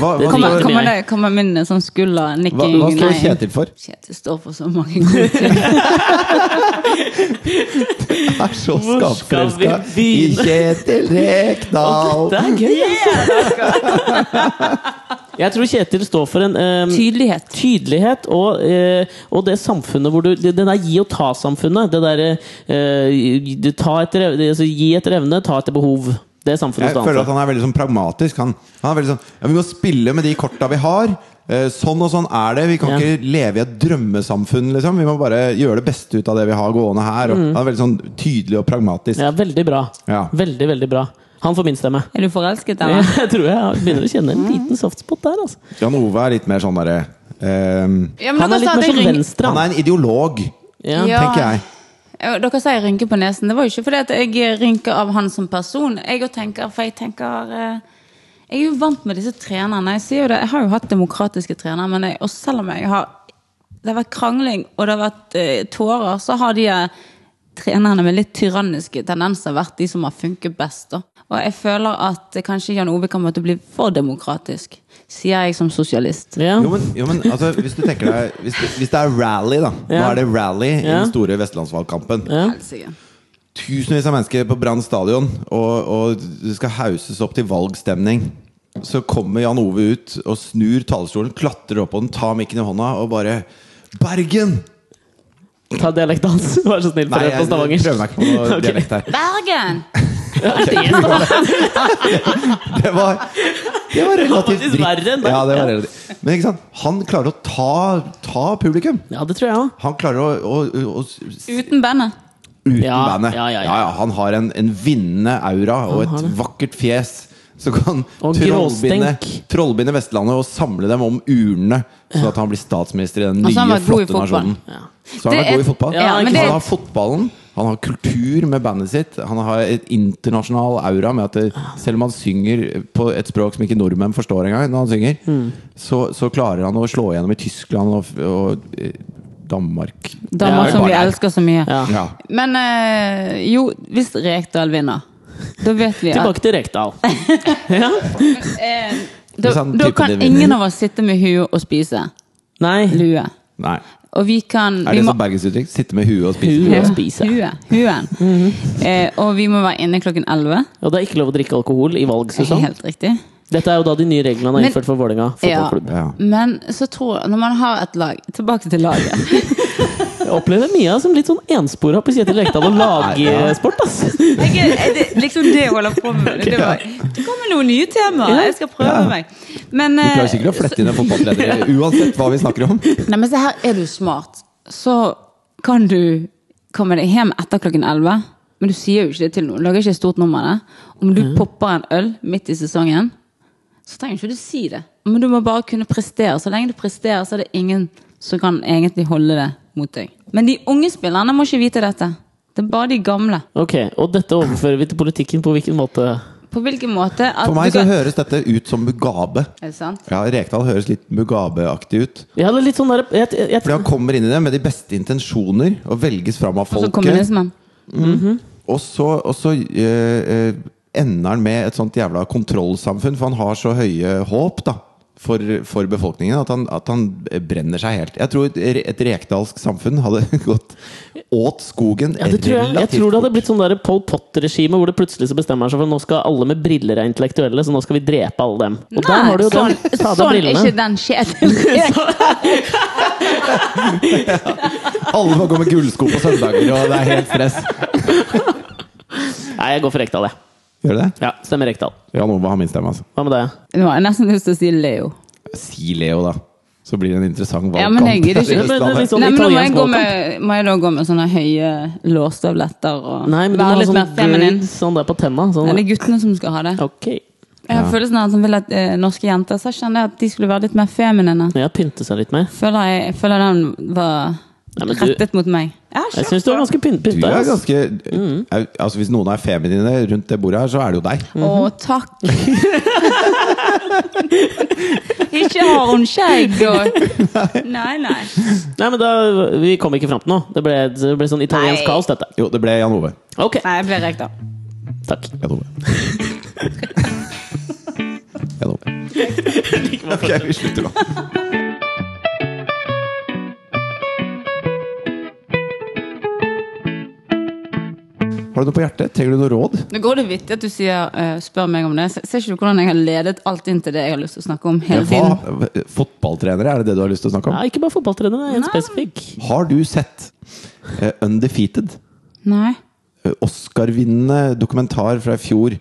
Speaker 2: Hva,
Speaker 1: det kommer-
Speaker 2: hva,
Speaker 3: Kommer,
Speaker 2: står-
Speaker 1: kom-
Speaker 3: kommer, det, kommer min sånn skulder
Speaker 2: hva,
Speaker 3: nikking
Speaker 2: hva står
Speaker 3: nei.
Speaker 2: Kjetil for?
Speaker 3: Kjetil står for så mange gode ting.
Speaker 2: Er så
Speaker 1: Hvor skal vi
Speaker 2: skapforelska i
Speaker 1: begynne?
Speaker 2: Kjetil Rekdal!
Speaker 1: Det er gøy, altså! Jeg tror Kjetil står for en eh,
Speaker 3: Tydelighet.
Speaker 1: Tydelighet og, eh, og det samfunnet hvor du Det, det der gi og ta-samfunnet. Det derre eh, du- ta etter ev- altså, Gi etter evne, ta etter behov. Det er samfunnet
Speaker 2: Jeg
Speaker 1: står
Speaker 2: føler at
Speaker 1: for.
Speaker 2: han er veldig sånn pragmatisk. Han, han er veldig sånn ja, Vi må spille med de korta vi har. Eh, Sånn og sånn er det. Vi kan
Speaker 1: Ja.
Speaker 2: ikke leve i et drømmesamfunn. Liksom. Vi må bare gjøre det beste ut av det vi har gående her. Og han er veldig sånn tydelig og pragmatisk.
Speaker 1: Mm. Ja, veldig bra.
Speaker 2: Ja.
Speaker 1: Veldig, veldig bra. Han får min stemme.
Speaker 3: Er du forelsket, eller?
Speaker 1: Jeg tror jeg begynner å kjenne
Speaker 3: Mm.
Speaker 1: en liten softspot der. Altså.
Speaker 2: Jan Ove er litt mer sånn derre ehm,
Speaker 3: Ja,
Speaker 1: Han er litt mer sånn som
Speaker 2: Han
Speaker 1: venstre.
Speaker 2: er en ideolog,
Speaker 1: Ja.
Speaker 3: altså, Ja.
Speaker 2: tenker jeg.
Speaker 3: Dere sier jeg rynker på nesen. Det var jo ikke fordi at jeg rynker av han som person. Jeg jo tenker, for jeg tenker eh, Jeg er jo vant med disse trenerne. Jeg, sier jo det, jeg har jo hatt demokratiske trenere, men jeg, og selv om jeg har Det har vært krangling, og det har vært eh, tårer, så har de eh, trenerne med litt tyranniske tendenser vært de som har funket best. Da. Og jeg føler at eh, kanskje Jan Ove kan måtte bli for demokratisk, sier jeg som sosialist.
Speaker 1: Ja.
Speaker 2: Jo, men, jo, men altså, hvis du tenker deg Hvis, hvis det er rally, da. Nå
Speaker 1: Ja.
Speaker 2: er det rally i
Speaker 1: Ja.
Speaker 2: den store vestlandsvalgkampen.
Speaker 1: Ja.
Speaker 3: Helsike.
Speaker 2: tusenvis av mennesker på Brann stadion, og, og det skal hauses opp til valgstemning. Så kommer Jan Ove ut og snur talerstolen, klatrer opp på den, tar mikken i hånda og bare Bergen!
Speaker 1: Ta dialekten hans, vær så snill. Prøv
Speaker 2: Nei,
Speaker 1: på
Speaker 2: jeg prøver
Speaker 1: stavangersk.
Speaker 2: meg ikke på noe
Speaker 1: Ok.
Speaker 2: dialekt her.
Speaker 3: Bergen!
Speaker 2: Det var, det var relativt
Speaker 1: faktisk verre enn det.
Speaker 2: Ja, det var relativt. Men ikke sant? han klarer å ta, ta publikum.
Speaker 1: Ja, det tror jeg òg.
Speaker 2: Han klarer å, å, å, å
Speaker 3: Uten bandet.
Speaker 2: uten
Speaker 1: Ja,
Speaker 2: bandet.
Speaker 1: ja, ja, ja.
Speaker 2: han har en, en vinnende aura og
Speaker 1: har
Speaker 2: et
Speaker 1: det.
Speaker 2: vakkert fjes. Som kan
Speaker 1: Og
Speaker 2: trollbinde,
Speaker 1: gråstenk.
Speaker 2: trollbinde Vestlandet og samle dem om urnene, sånn at han blir statsminister i den
Speaker 3: Altså, han
Speaker 2: nye,
Speaker 3: var god i
Speaker 2: flotte
Speaker 3: fotball.
Speaker 2: nasjonen.
Speaker 1: Ja.
Speaker 2: Så han
Speaker 3: Det
Speaker 2: er god
Speaker 3: er-
Speaker 2: i fotball.
Speaker 1: Ja,
Speaker 2: han
Speaker 1: men det-
Speaker 2: har fotballen, han har kultur med bandet sitt, han har et internasjonal aura med at det, selv om han synger på et språk som ikke nordmenn forstår engang, når han synger,
Speaker 1: Mm.
Speaker 2: så, så klarer han å slå igjennom i Tyskland og, og eh, Danmark.
Speaker 3: Damer
Speaker 1: Ja,
Speaker 3: som vi
Speaker 2: bare-
Speaker 3: elsker så mye.
Speaker 1: Ja.
Speaker 2: Ja.
Speaker 3: Men eh, jo, hvis Rekdal vinner, da vet vi at
Speaker 1: Tilbake til Rekdal.
Speaker 3: eh, da,
Speaker 2: Hvis han
Speaker 3: da
Speaker 2: tipper
Speaker 3: kan
Speaker 2: det sånn vinner.
Speaker 3: ingen av oss sitte med hue og spise
Speaker 1: Nei,
Speaker 3: lue.
Speaker 2: Nei.
Speaker 3: Og vi kan
Speaker 2: Er
Speaker 3: vi
Speaker 2: det
Speaker 3: må-
Speaker 2: sånn bergensuttrykk? Sitte med huet og spise? Mhm.
Speaker 1: Huet.
Speaker 2: huet?
Speaker 1: å spise?
Speaker 3: Hue. Huen. eh, og vi må være inne klokken 11.
Speaker 1: og det er ikke lov å drikke alkohol i valgsesong.
Speaker 3: Helt riktig.
Speaker 1: Dette er jo da de nye reglene han har
Speaker 3: Men-
Speaker 1: innført for Vålerenga fotballklubb.
Speaker 2: Ja.
Speaker 3: Men så tror jeg, når man har et lag Tilbake til laget.
Speaker 1: Jeg opplever Mia som litt sånn enspora på Kjetil Rekdal og lagsport, ass.
Speaker 3: Jeg er, er det, liksom det jeg holder på med. Det, var, det kommer noen nye temaer. Jeg skal prøve
Speaker 2: Ja.
Speaker 3: meg. Men,
Speaker 2: Du klarer
Speaker 3: eh,
Speaker 2: sikkert å flette inn en fotballtrener uansett hva vi snakker om.
Speaker 3: Nei, men se her, er du smart, så kan du komme deg hjem etter klokken 11. Men du sier jo ikke det til noen. Lager ikke et stort nummer av det. Om
Speaker 1: Mhm.
Speaker 3: du popper en øl midt i sesongen, så trenger ikke du si det. Men du må bare kunne prestere. Så lenge du presterer, så er det ingen som kan egentlig holde det mot deg. Men de unge spillerne må ikke vite dette. Det er bare de gamle.
Speaker 1: Ok, Og dette overfører vi til politikken på hvilken måte?
Speaker 3: På hvilken måte at
Speaker 2: For meg
Speaker 3: du
Speaker 2: så
Speaker 3: kan...
Speaker 2: høres dette ut som Mugabe.
Speaker 3: Er det sant?
Speaker 2: Ja, Rekdal høres litt Mugabe-aktig ut.
Speaker 1: Ja, det er litt sånn der, jeg, jeg, jeg,
Speaker 2: Fordi han kommer inn i det med de beste intensjoner og velges fram av
Speaker 3: Og så
Speaker 2: folket.
Speaker 3: kommunismen.
Speaker 2: Og så, og så eh, eh, ender han med et sånt jævla kontrollsamfunn, for han har så høye håp da for, for befolkningen at han, at han brenner seg helt. Jeg tror et, et rekdalsk samfunn hadde gått åt skogen
Speaker 1: Ja, det tror jeg. jeg
Speaker 2: relativt
Speaker 1: tror det hadde
Speaker 2: fort.
Speaker 1: blitt sånn der Pol Pot-regime, hvor det plutselig så bestemmer seg for nå skal alle med briller er intellektuelle, så nå skal vi drepe alle dem. Og der har du jo
Speaker 3: sånn,
Speaker 1: den. Ta av
Speaker 3: sånn er ikke
Speaker 1: brillene.
Speaker 3: den Kjetil.
Speaker 2: Alle må gå med gullsko på søndager, og det er helt stress.
Speaker 1: Nei, jeg går for Rekdal, jeg.
Speaker 2: Gjør det?
Speaker 1: Ja, stemmer Rekdal.
Speaker 2: Ja, nå var han min stemme, altså.
Speaker 1: Hva med deg?
Speaker 3: Nå har jeg nesten lyst til å si Leo.
Speaker 2: Si Leo, da. Så blir det en interessant valgkamp.
Speaker 3: Ja, men jeg gidder ikke.
Speaker 2: i
Speaker 1: Ja, men
Speaker 2: Østlandet.
Speaker 1: det er litt sånn-
Speaker 3: Nei, men nå må jeg,
Speaker 1: italiensk
Speaker 3: gå med, må jeg da gå med sånne høye lårstøvletter og
Speaker 1: Nei, men du må
Speaker 3: være
Speaker 1: ha
Speaker 3: litt
Speaker 1: sånn
Speaker 3: mer feminin?
Speaker 1: grid sånn der på tenna.
Speaker 3: Er
Speaker 1: Sånn.
Speaker 3: det guttene som skal ha det?
Speaker 1: Ok.
Speaker 3: Jeg har følelsen av at han vil at eh, norske jenter så jeg kjenner at de skulle være litt mer feminine.
Speaker 1: Ja, pynte seg litt mer.
Speaker 3: Føler jeg, jeg føler den var
Speaker 1: Nei, men du-
Speaker 3: rettet mot meg. Ja,
Speaker 1: Jeg syns du var ganske pynt-
Speaker 2: Du
Speaker 1: pynta.
Speaker 2: er
Speaker 1: ass.
Speaker 2: ganske Au, Altså Hvis noen er feminine rundt det bordet her, så er det jo deg.
Speaker 1: Mhm.
Speaker 3: Å, takk! ikke har hun skjegg og Nei, nei.
Speaker 1: Nei, men da, Vi kom ikke fram til noe. Det ble, det ble sånn italiensk
Speaker 3: Nei.
Speaker 1: kaos, dette.
Speaker 2: Jo, det ble Jan Ove.
Speaker 1: Ok,
Speaker 3: Nei, jeg ble rekt av.
Speaker 1: takk.
Speaker 2: Jan Ove. Jan Ove. Ok, vi slutter nå. Har du noe på hjertet? Trenger du noe råd?
Speaker 3: Nå går det vittig at du sier, eh, spør meg om det. Se- Ser ikke du hvordan jeg har ledet alt inn til det jeg har lyst til å snakke om hele tiden?
Speaker 2: Hva, eh, fotballtrenere, er det det du har lyst til å snakke om?
Speaker 1: Ja, ikke bare fotballtrener, det er en
Speaker 3: Nei.
Speaker 1: spesifikk.
Speaker 2: Har du sett eh, Undefeated?
Speaker 3: Nei.
Speaker 2: eh, Oscar-vinnende dokumentar fra i fjor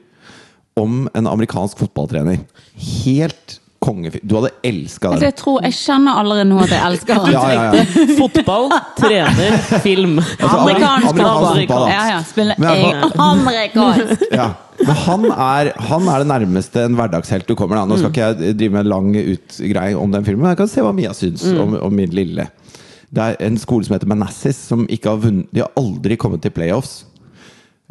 Speaker 2: om en amerikansk fotballtrener. Helt kongefyr. Du hadde elska
Speaker 3: Altså,
Speaker 2: den.
Speaker 3: jeg tror jeg kjenner allerede nå at jeg elsker han.
Speaker 2: Ja, ja, ja.
Speaker 1: Fotball, trener, film.
Speaker 3: Amerikansk
Speaker 2: Altså, amerikansk
Speaker 3: fotball.
Speaker 2: fotball, da.
Speaker 3: Ja, ja. Spiller
Speaker 2: Men jeg-
Speaker 3: jeg amerikansk?
Speaker 2: Ja. Men han er, han er det nærmeste en hverdagshelt du kommer. Da.
Speaker 1: Mm.
Speaker 2: Nå skal ikke jeg drive med en lang utgreie om den filmen, men jeg kan se hva Mia syns
Speaker 1: Mm.
Speaker 2: om, om min lille. Det er en skole som heter Manassas, som ikke har vunnet De har aldri kommet til playoffs.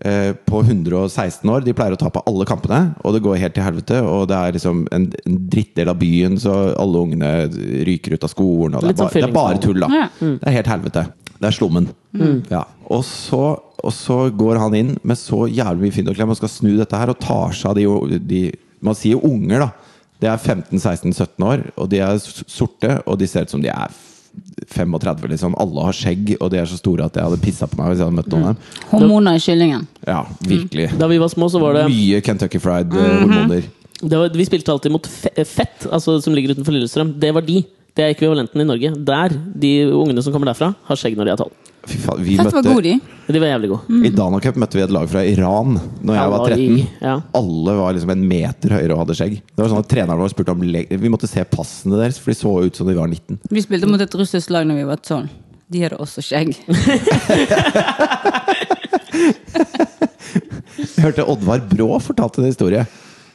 Speaker 2: eh, På 116 år. De pleier å tape alle kampene, og det går helt til helvete. Og det er liksom en, en drittdel av byen, så alle ungene ryker ut av skolen. Og det,
Speaker 1: Litt
Speaker 2: er
Speaker 1: sånn
Speaker 2: bare, det er bare tull, da.
Speaker 3: Ja.
Speaker 1: Mm.
Speaker 2: Det er helt helvete. Det er slummen. Ja. Og, så, og så går han inn med så jævlig mye fynd og klem og skal snu dette her og tar seg av de, de Man sier jo unger, da. De er 15-16-17 år, og de er s- sorte, og de ser ut som de er f- 35, liksom. Alle har skjegg, og de er så store at jeg hadde pissa på meg hvis jeg hadde møtt noen av dem.
Speaker 3: Hormoner i kyllingen.
Speaker 2: Ja, virkelig.
Speaker 1: Mm. Da vi var små, så var det Mhm.
Speaker 2: Mye Kentucky eh, Fried-hormoner.
Speaker 1: det var, Vi spilte alltid mot fe- fett, altså som ligger utenfor Lillestrøm. Det var de. Det er ekvivalenten i Norge. Der, De ungene som kommer derfra, har skjegg når de er tolv.
Speaker 2: Fy faen, vi
Speaker 3: Fett var god,
Speaker 2: møtte
Speaker 3: de.
Speaker 1: De var jævlig gode.
Speaker 2: I Dana Cup møtte vi et lag fra Iran Når jeg var 13.
Speaker 1: Ja.
Speaker 2: Alle var liksom en meter høyere og hadde skjegg. Det var sånn at Treneren vår spurte om le- Vi måtte se passene deres, for de så ut som de var 19.
Speaker 3: Vi spilte mot et russisk lag når vi var tolv. De hadde også skjegg.
Speaker 2: Jeg hørte Oddvar Brå fortalte en historie.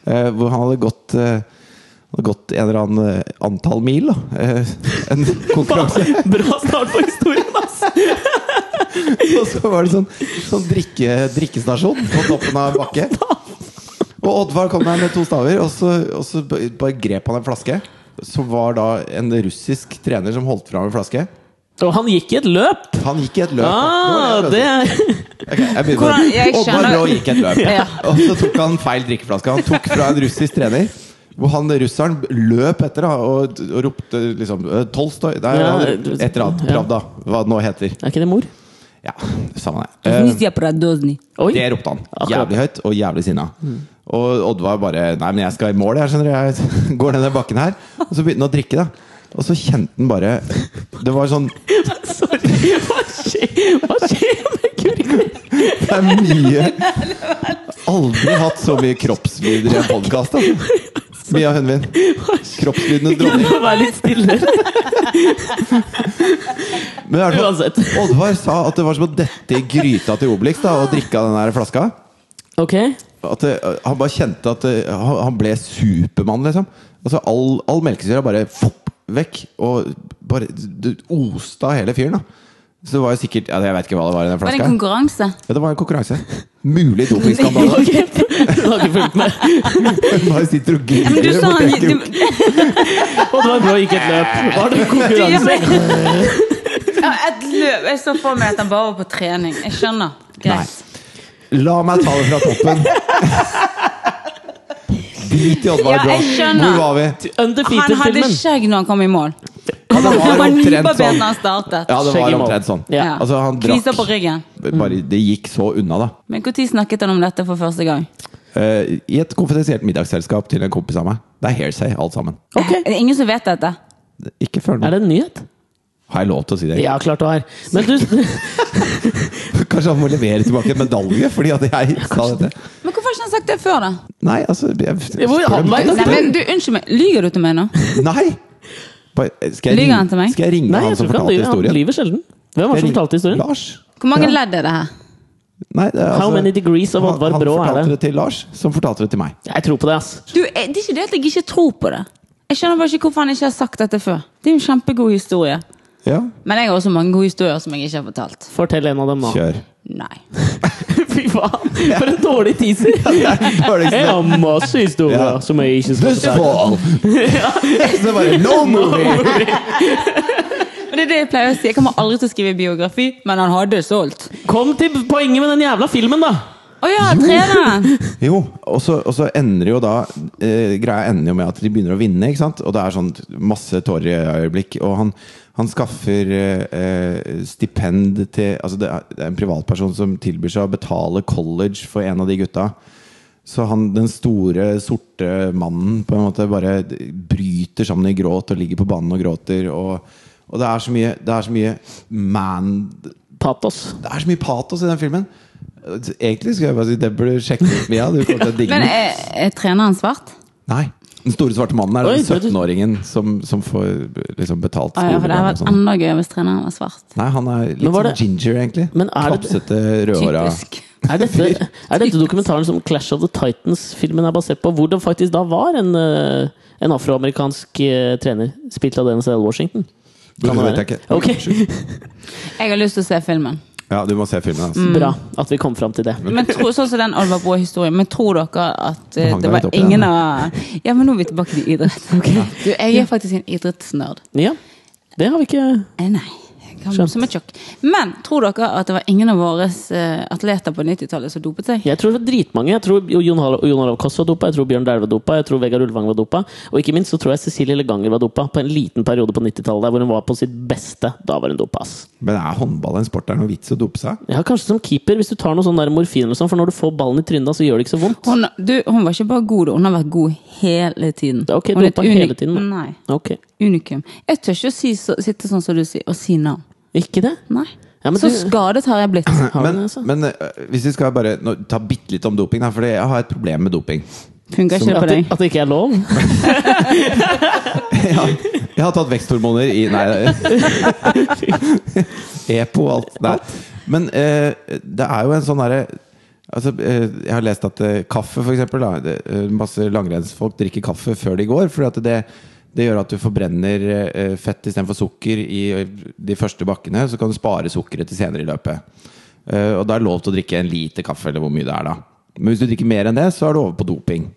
Speaker 2: eh, hvor han hadde gått, eh, hadde gått en eller annen eh, antall mil. Da. eh, en konkurranse.
Speaker 1: Bra start på historien, ass!
Speaker 2: Og så var det sånn, sånn drikke, drikkestasjon på toppen av en bakke. Og Oddvar kom der med to staver, og så, og så b- bare grep han en flaske. Som var da en russisk trener som holdt fra ham en flaske.
Speaker 1: Og han gikk i et løp!
Speaker 2: Han gikk i et løp.
Speaker 1: Ah,
Speaker 2: da. Det var
Speaker 1: det
Speaker 2: jeg
Speaker 1: er
Speaker 2: prøvde å si. Ok, jeg begynner
Speaker 3: Hvordan- jeg
Speaker 2: med det. Oddvar
Speaker 3: skjønner-
Speaker 2: Brå gikk et løp.
Speaker 3: Ja.
Speaker 2: Og så tok han feil drikkeflaske. Han tok fra en russisk trener. Hvor han russeren løp etter da, og, og ropte liksom «Øh, Tolstoj Nei,
Speaker 1: Ja,
Speaker 2: han- et eller annet.
Speaker 1: ja.
Speaker 2: Pravda, hva det nå heter.
Speaker 1: Er ikke det mor?
Speaker 2: Ja, samme det. Eh,
Speaker 3: Nisja Pradozny.
Speaker 1: Oi!
Speaker 2: det ropte han.
Speaker 1: Akkurat.
Speaker 2: Jævlig høyt og jævlig sinna. Og Oddvar bare Nei, men jeg skal i mål, jeg, skjønner du. Jeg går ned den bakken her. Og så begynte han å drikke, da. Og så kjente han bare Det var sånn Det
Speaker 1: Sorry! Hva skjer, Hva skjer med kurven?
Speaker 2: er mye Aldri hatt så mye kroppslyder i en podkast. Mia Hønvin. Kroppslydenes
Speaker 1: Du
Speaker 2: dronning.
Speaker 1: må være litt stille.
Speaker 2: Men i hvert fall,
Speaker 1: Uansett.
Speaker 2: Oddvar sa at det var som å dette i gryta til Obelix da, og drikke av den der flaska.
Speaker 1: Ok.
Speaker 2: at det, han bare kjente at det, han, han ble Supermann, liksom. Altså, all, all melkesyra bare fopp, vekk. Og bare det oste av hele fyren, da. Så det var jo sikkert ja, Jeg vet ikke hva det var i den
Speaker 3: Var det
Speaker 2: flaska.
Speaker 3: en konkurranse?
Speaker 2: Ja, det var en konkurranse. Mulig dopingskandale.
Speaker 1: Ok. Du har ikke fulgt med.
Speaker 2: Hun bare sitter og
Speaker 3: Men du
Speaker 2: griller
Speaker 3: sa
Speaker 2: borti
Speaker 3: han
Speaker 2: en krok.
Speaker 3: du,
Speaker 1: Og det var bra gikk et løp. Var det
Speaker 3: Ja,
Speaker 1: konkurranse?
Speaker 3: men- Ja, Et løp. Jeg så for meg at han bare var på trening. Jeg skjønner.
Speaker 2: Nei.
Speaker 3: Greit.
Speaker 2: La meg ta det fra toppen. Drit i Oddvar
Speaker 3: Ja,
Speaker 2: Brå.
Speaker 3: jeg skjønner.
Speaker 2: Hvor var vi?
Speaker 3: Han hadde
Speaker 1: Undefeated-filmen.
Speaker 3: skjegg når han kom i mål.
Speaker 2: Ja, det
Speaker 3: Han
Speaker 2: var
Speaker 3: var
Speaker 2: omtrent
Speaker 3: nybarbert
Speaker 2: sånn.
Speaker 3: da han startet.
Speaker 2: Ja, det
Speaker 1: Skjegg i
Speaker 2: var
Speaker 1: mål.
Speaker 2: omtrent sånn.
Speaker 1: Ja.
Speaker 2: Altså, han
Speaker 3: Kniser på
Speaker 2: drakk
Speaker 3: ryggen.
Speaker 2: bare, Det gikk så unna, da.
Speaker 3: Men når snakket han om dette for første gang?
Speaker 2: Eh, I et konfidensielt middagsselskap til en kompis av meg. Det er hairsay, alt sammen.
Speaker 1: Ok.
Speaker 3: Er det ingen som vet dette?
Speaker 2: Ikke før nå.
Speaker 1: Er det en nyhet?
Speaker 2: Har jeg lov til å si det?
Speaker 1: Ja, klart du har. Men du,
Speaker 2: Kanskje han må levere tilbake en medalje fordi at jeg sa dette?
Speaker 3: Men hvorfor har ikke han sagt det før, da?
Speaker 2: Nei, altså jeg,
Speaker 1: Ja, hvor er han vei, da?
Speaker 3: Nei, men du, Unnskyld meg, lyver du til meg nå?
Speaker 2: Nei! Bare- Skal jeg
Speaker 3: Lyger
Speaker 2: ringe,
Speaker 3: han til meg?
Speaker 2: Skal jeg ringe
Speaker 1: nei, jeg
Speaker 2: han som
Speaker 1: tror ikke han
Speaker 2: fortalte
Speaker 1: lyver. Han
Speaker 2: historien?
Speaker 1: lyver sjelden. Hvem var det
Speaker 2: Jeg
Speaker 1: som
Speaker 2: ringer-
Speaker 1: fortalte historien?
Speaker 2: Lars?
Speaker 3: Hvor mange ledd er det her?
Speaker 2: Nei, det er
Speaker 1: How
Speaker 2: altså-
Speaker 1: many degrees of Oddvar
Speaker 2: han,
Speaker 1: Brå
Speaker 2: Han
Speaker 1: er
Speaker 2: fortalte
Speaker 1: det?
Speaker 2: det til Lars, som fortalte det til meg.
Speaker 1: Jeg tror på det, ass.
Speaker 3: Du, jeg- Det er ikke det at jeg ikke tror på det. Jeg skjønner bare ikke hvorfor han ikke har sagt dette før. Det er jo en kjempegod historie.
Speaker 2: Ja,
Speaker 3: Men jeg har også mange gode historier som jeg ikke har fortalt.
Speaker 1: Fortell en av dem nå.
Speaker 2: kjør.
Speaker 3: Nei.
Speaker 1: Fy faen, for en dårlig teaser! Jeg har masse historier
Speaker 2: Ja.
Speaker 1: som jeg ikke skal
Speaker 2: This fall! Så bare No movie!
Speaker 3: Men det er det jeg pleier å si. Jeg kommer aldri til å skrive biografi, men han hadde solgt.
Speaker 1: Kom til poenget med den jævla filmen, da!
Speaker 3: Å ja, treneren!
Speaker 2: Jo, og så, og så ender jo da eh, Greia ender jo med at de begynner å vinne, ikke sant? Og det er sånn masse tårer i øyeblikk. Og han, han skaffer eh, eh, stipend til Altså, det er, det er en privatperson som tilbyr seg å betale college for en av de gutta. Så han, den store, sorte mannen på en måte bare bryter sammen i gråt og ligger på banen og gråter. Og, og det er så mye, det er så mye man
Speaker 1: Patos.
Speaker 2: det er så mye patos i den filmen. Egentlig skulle jeg bare si det burde du sjekke ut Mia. Du kommer til å digge
Speaker 3: Men eh,
Speaker 2: den.
Speaker 3: er, er treneren svart?
Speaker 2: Nei. Den store svarte mannen er
Speaker 1: Oi,
Speaker 2: den
Speaker 1: ble du-
Speaker 2: 17-åringen som, som får liksom betalt
Speaker 3: Å Ah, ja, for det
Speaker 2: skolegang og
Speaker 3: hadde vært
Speaker 2: sånn.
Speaker 3: enda gøyere hvis treneren var svart.
Speaker 2: Nei, han er litt
Speaker 1: Men var
Speaker 2: sånn
Speaker 1: det-
Speaker 2: ginger, egentlig.
Speaker 1: Men er det-
Speaker 2: Klapsete, rødhåra.
Speaker 3: Typisk.
Speaker 1: Er dette, er dette dokumentaren som Clash of the Titans-filmen er basert på, hvor det faktisk da var en, eh, en afroamerikansk eh, trener spilt av Dennis L. Washington?
Speaker 2: Det vet jeg ikke.
Speaker 1: Ok.
Speaker 2: Unnskyld.
Speaker 3: Jeg har lyst til å se filmen.
Speaker 2: Ja, du må se filmen.
Speaker 3: Mm.
Speaker 2: Altså.
Speaker 1: Bra at vi kom fram til det.
Speaker 3: Men tro, sånn som den Alvar Brå-historien, men tror dere at eh,
Speaker 2: hang
Speaker 3: det
Speaker 2: deg
Speaker 3: var
Speaker 2: litt opp i
Speaker 3: ingen
Speaker 2: den,
Speaker 3: av Ja, men nå er vi tilbake til idrett. Du, jeg er faktisk en idrettsnerd.
Speaker 1: Ja, det har vi ikke
Speaker 3: Eh, Nei. han,
Speaker 1: Skjønt.
Speaker 3: som et sjokk. Men tror dere at det var ingen av våre eh, atleter på 90-tallet som dopet seg?
Speaker 1: Jeg tror det var dritmange. Jeg tror jo Jon Olav Jon Olav Koss var dopa, jeg tror Bjørn Dæhlie var dopa, jeg tror Vegard Ulvang var dopa. Og ikke minst så tror jeg Cecilie Leganger var dopa på en liten periode på 90-tallet der hvor hun var på sitt beste. Da var hun dopa, ass.
Speaker 2: Men er håndball en sport det er noe vits i å dope seg?
Speaker 1: Ja, kanskje som keeper, hvis du tar noe sånn der morfin eller sånn, for når du får ballen i trynet, da, så gjør det ikke så vondt.
Speaker 3: Hun, du, hun var ikke bare god, da. hun har vært god hele tiden.
Speaker 1: Det er ok,
Speaker 3: hun
Speaker 1: dopa hele tiden, da.
Speaker 3: Nei,
Speaker 1: Ok.
Speaker 3: unikum. Jeg tør ikke å si, så, sitte sånn som du sier, og si navn.
Speaker 1: Ikke det?
Speaker 3: Nei.
Speaker 1: Ja, men
Speaker 3: så
Speaker 1: du-
Speaker 3: skadet har jeg blitt.
Speaker 1: Har du
Speaker 2: Men,
Speaker 1: det, altså?
Speaker 2: men eh, hvis vi skal bare nå, ta bitte litt om doping, da, for jeg har et problem med doping.
Speaker 3: Funker ikke det
Speaker 1: At
Speaker 3: på
Speaker 1: det,
Speaker 3: deg?
Speaker 1: at det ikke er lov?
Speaker 2: Jeg har, jeg har tatt veksthormoner i Nei. Epo og alt. Nei. Men eh, det er jo en sånn derre Altså, eh, jeg har lest at eh, kaffe, for eksempel, da, det, eh, masse langrennsfolk drikker kaffe før de går. Fordi at det, det gjør at du forbrenner eh, fett istedenfor sukker i de første bakkene. Så kan du spare sukkeret til senere i løpet. Eh, og da er det lov til å drikke en liter kaffe, eller hvor mye det er, da. Men hvis du drikker mer enn det, så er du over på doping.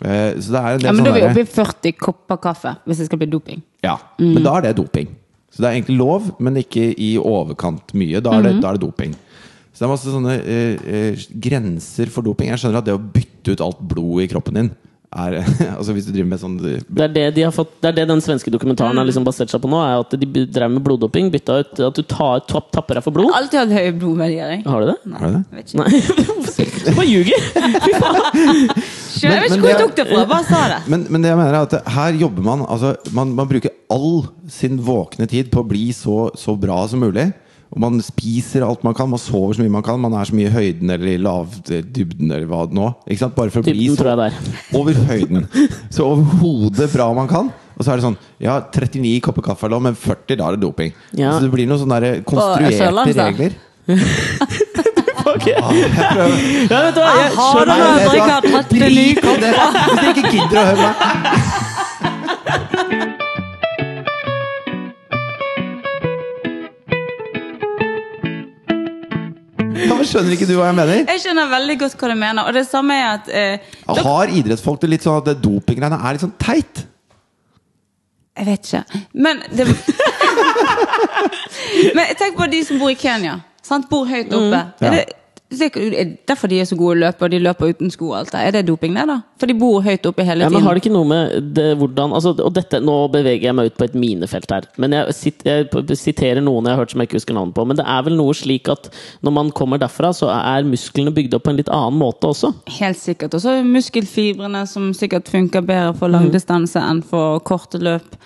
Speaker 2: Eh, så det er en del
Speaker 3: Ja,
Speaker 1: sånn
Speaker 2: sånne
Speaker 3: men Da er vi
Speaker 2: derre-
Speaker 3: oppe i 40 kopper kaffe, hvis det skal bli doping.
Speaker 2: ja, men da er det doping. Så det er egentlig lov, men ikke i overkant mye. Da er det, da er det doping. Så det er masse sånne eh, eh, grenser for doping. Jeg skjønner at det å bytte ut alt blodet i kroppen din er Altså hvis du driver med sånn
Speaker 1: Det er det, de har fått, det er det den svenske dokumentaren har liksom basert seg på nå. Er at de by- drev med bloddoping. Bytta ut At du tar, tapp, tapper deg for blod.
Speaker 3: Alltid hatt høye blodverdier, jeg.
Speaker 1: Har du det?
Speaker 2: Har du det?
Speaker 3: Jeg vet ikke,
Speaker 1: Nei, du bare ljuger! Fy faen!
Speaker 3: jeg
Speaker 2: Men-
Speaker 3: vet ikke
Speaker 2: men
Speaker 3: hvor jeg
Speaker 2: det-
Speaker 3: tok det fra, jeg bare sa det.
Speaker 2: Men, men det jeg mener er at det- her jobber man altså, man, man bruker all sin våkne tid på å bli så, så bra som mulig. Og man spiser alt man kan, man sover så mye man kan. Man er så mye i høyden eller i lavdybden eller hva det nå. Ikke sant? Bare for å bli
Speaker 1: Dybden,
Speaker 2: så
Speaker 1: tror jeg det er.
Speaker 2: Over høyden. Så overhodet bra man kan. Og så er det sånn Ja, 39 kopper kaffe er lov, men 40 da er det doping.
Speaker 1: Ja.
Speaker 2: Så det blir noen sånne der
Speaker 3: Sørlands,
Speaker 2: konstruerte
Speaker 3: da.
Speaker 2: regler.
Speaker 1: Ok. Ja, vet du hva, jeg
Speaker 3: Aha,
Speaker 1: skjønner
Speaker 3: da har jeg
Speaker 2: Nei,
Speaker 3: drikket
Speaker 2: vet du hva? Drit i
Speaker 3: 39
Speaker 2: det. Hvis dere ikke gidder å høre meg Ja, men Skjønner ikke du hva jeg mener?
Speaker 3: Jeg skjønner veldig godt hva du mener. Og det samme er at eh,
Speaker 2: Har idrettsfolk det litt sånn at det dopinggreiene er litt sånn teit?
Speaker 3: Jeg vet ikke. Men det Men tenk på de som bor i Kenya. Sant? Bor høyt oppe.
Speaker 2: Ja.
Speaker 3: Er det, sikkert- er det derfor de er så gode løpere, de løper uten sko og alt det. Er det doping, det, da? For de bor høyt oppe hele
Speaker 1: Ja,
Speaker 3: tiden.
Speaker 1: men har det ikke noe med det, hvordan altså, Og dette, nå beveger jeg meg ut på et minefelt her. Men jeg, sit, jeg p- siterer noen jeg har hørt som jeg ikke husker navnet på. Men det er vel noe slik at når man kommer derfra, så er musklene bygd opp på en litt annen måte også.
Speaker 3: Helt sikkert. Og så er det muskelfibrene som sikkert funker bedre
Speaker 1: Mm.
Speaker 3: for langdistanse enn for korte løp.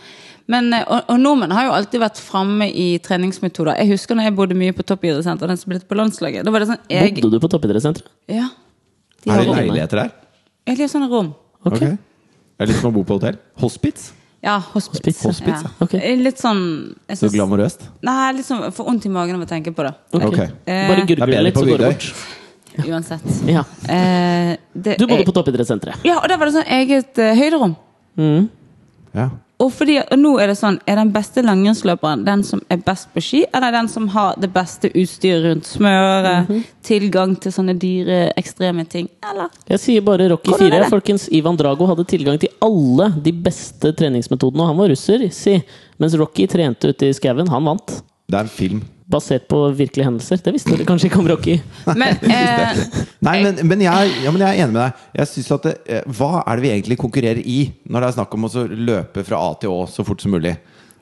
Speaker 3: Men, eh, og, og nordmenn har jo alltid vært framme i treningsmetoder. Jeg husker når jeg bodde mye på toppidrettssenter, den som ble på landslaget. Da var det sånn jeg,
Speaker 1: Bodde du på toppidrettssenteret?
Speaker 3: ja, de
Speaker 2: Er
Speaker 3: har
Speaker 1: Nei.
Speaker 2: det
Speaker 3: rom.
Speaker 2: leiligheter der?
Speaker 3: Jeg liker sånne rom.
Speaker 1: Ok.
Speaker 2: Ok. Det er litt som å bo på hotell. Hospits.
Speaker 3: Ja, hospice.
Speaker 1: Hospice.
Speaker 2: Hospice,
Speaker 3: ja.
Speaker 1: ja. Ok.
Speaker 3: Eh, Litt sånn jeg
Speaker 2: Så
Speaker 3: synes,
Speaker 2: glamorøst.
Speaker 3: Nei, litt sånn for vondt i magen av å tenke på det.
Speaker 1: Ok. Eh,
Speaker 2: Ok.
Speaker 1: Bare
Speaker 2: Det er
Speaker 1: gurgle
Speaker 2: bedre
Speaker 1: litt,
Speaker 2: på
Speaker 1: så går det
Speaker 2: Vigdøy.
Speaker 1: bort.
Speaker 3: Uansett.
Speaker 1: Ja.
Speaker 3: Eh, det,
Speaker 1: Du bodde
Speaker 3: jeg-
Speaker 1: på toppidrettssenteret.
Speaker 3: Ja, og der var det sånn eget eh, høyderom.
Speaker 2: Ja.
Speaker 3: Og, fordi, og nå er det sånn, er den beste langrennsløperen den som er best på ski, eller den som har det beste utstyret rundt smøre,
Speaker 2: Mhm.
Speaker 3: tilgang til sånne dyre, ekstreme ting? Eller?
Speaker 1: Jeg sier bare Rocky
Speaker 3: Hvordan er
Speaker 1: 4.
Speaker 3: det?
Speaker 1: Folkens, Ivan Drago hadde tilgang til alle de beste treningsmetodene, og han var russer, si. Mens Rocky trente ute i skauen. Han vant.
Speaker 2: Det er en film.
Speaker 1: Basert på virkelige hendelser. Det visste dere kanskje ikke om Rocky.
Speaker 3: Men, eh,
Speaker 2: Nei, men, men, jeg, ja, men jeg er enig med deg. Jeg synes at det, eh, Hva er det vi egentlig konkurrerer i når det er snakk om å så løpe fra A til Å så fort som mulig?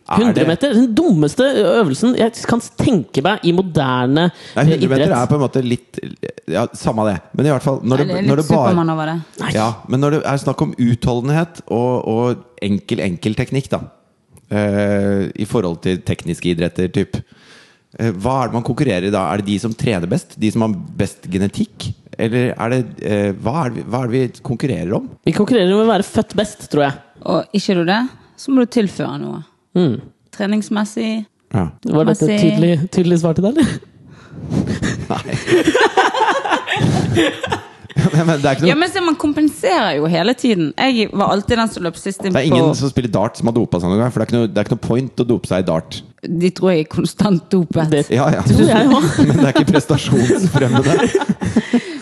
Speaker 2: Er
Speaker 1: 100
Speaker 2: det-
Speaker 1: meter! Den dummeste øvelsen jeg kan tenke meg i moderne
Speaker 2: Nei,
Speaker 1: eh,
Speaker 2: 100 meter er
Speaker 1: idrett.
Speaker 2: på en måte litt Ja, samme det. Men i hvert fall når
Speaker 3: det
Speaker 2: det,
Speaker 3: er
Speaker 2: når
Speaker 3: litt
Speaker 2: det bare
Speaker 3: Supermann over det.
Speaker 2: Ja, men når det er snakk om utholdenhet og, og enkel, enkel teknikk, da. eh, I forhold til tekniske idretter, typ. Eh, hva er det man konkurrerer i da? Er det de som trener best? De som har best genetikk? Eller er det eh, hva, er det, vi- hva er det vi konkurrerer om?
Speaker 1: Vi konkurrerer med å være født best, tror jeg.
Speaker 3: Og ikke du det, så må du tilføre noe.
Speaker 2: Mm.
Speaker 3: Treningsmessig.
Speaker 2: Ja.
Speaker 1: Var dette et
Speaker 3: Masse-
Speaker 1: tydelig, tydelig svar til deg, eller?
Speaker 2: Nei. Nei, men det er ikke
Speaker 3: Ja,
Speaker 2: noe
Speaker 3: men se, man kompenserer jo hele tiden. Jeg var alltid den som løp sist inn
Speaker 2: det er ingen
Speaker 3: på
Speaker 2: som spiller dart som har dopa seg noen gang. For det er, ikke noe, det er ikke noe point å dope seg i dart.
Speaker 3: De tror jeg er konstant dopet.
Speaker 1: Det
Speaker 2: Ja, ja.
Speaker 1: tror jeg òg.
Speaker 2: Men det er ikke prestasjonsfremmende.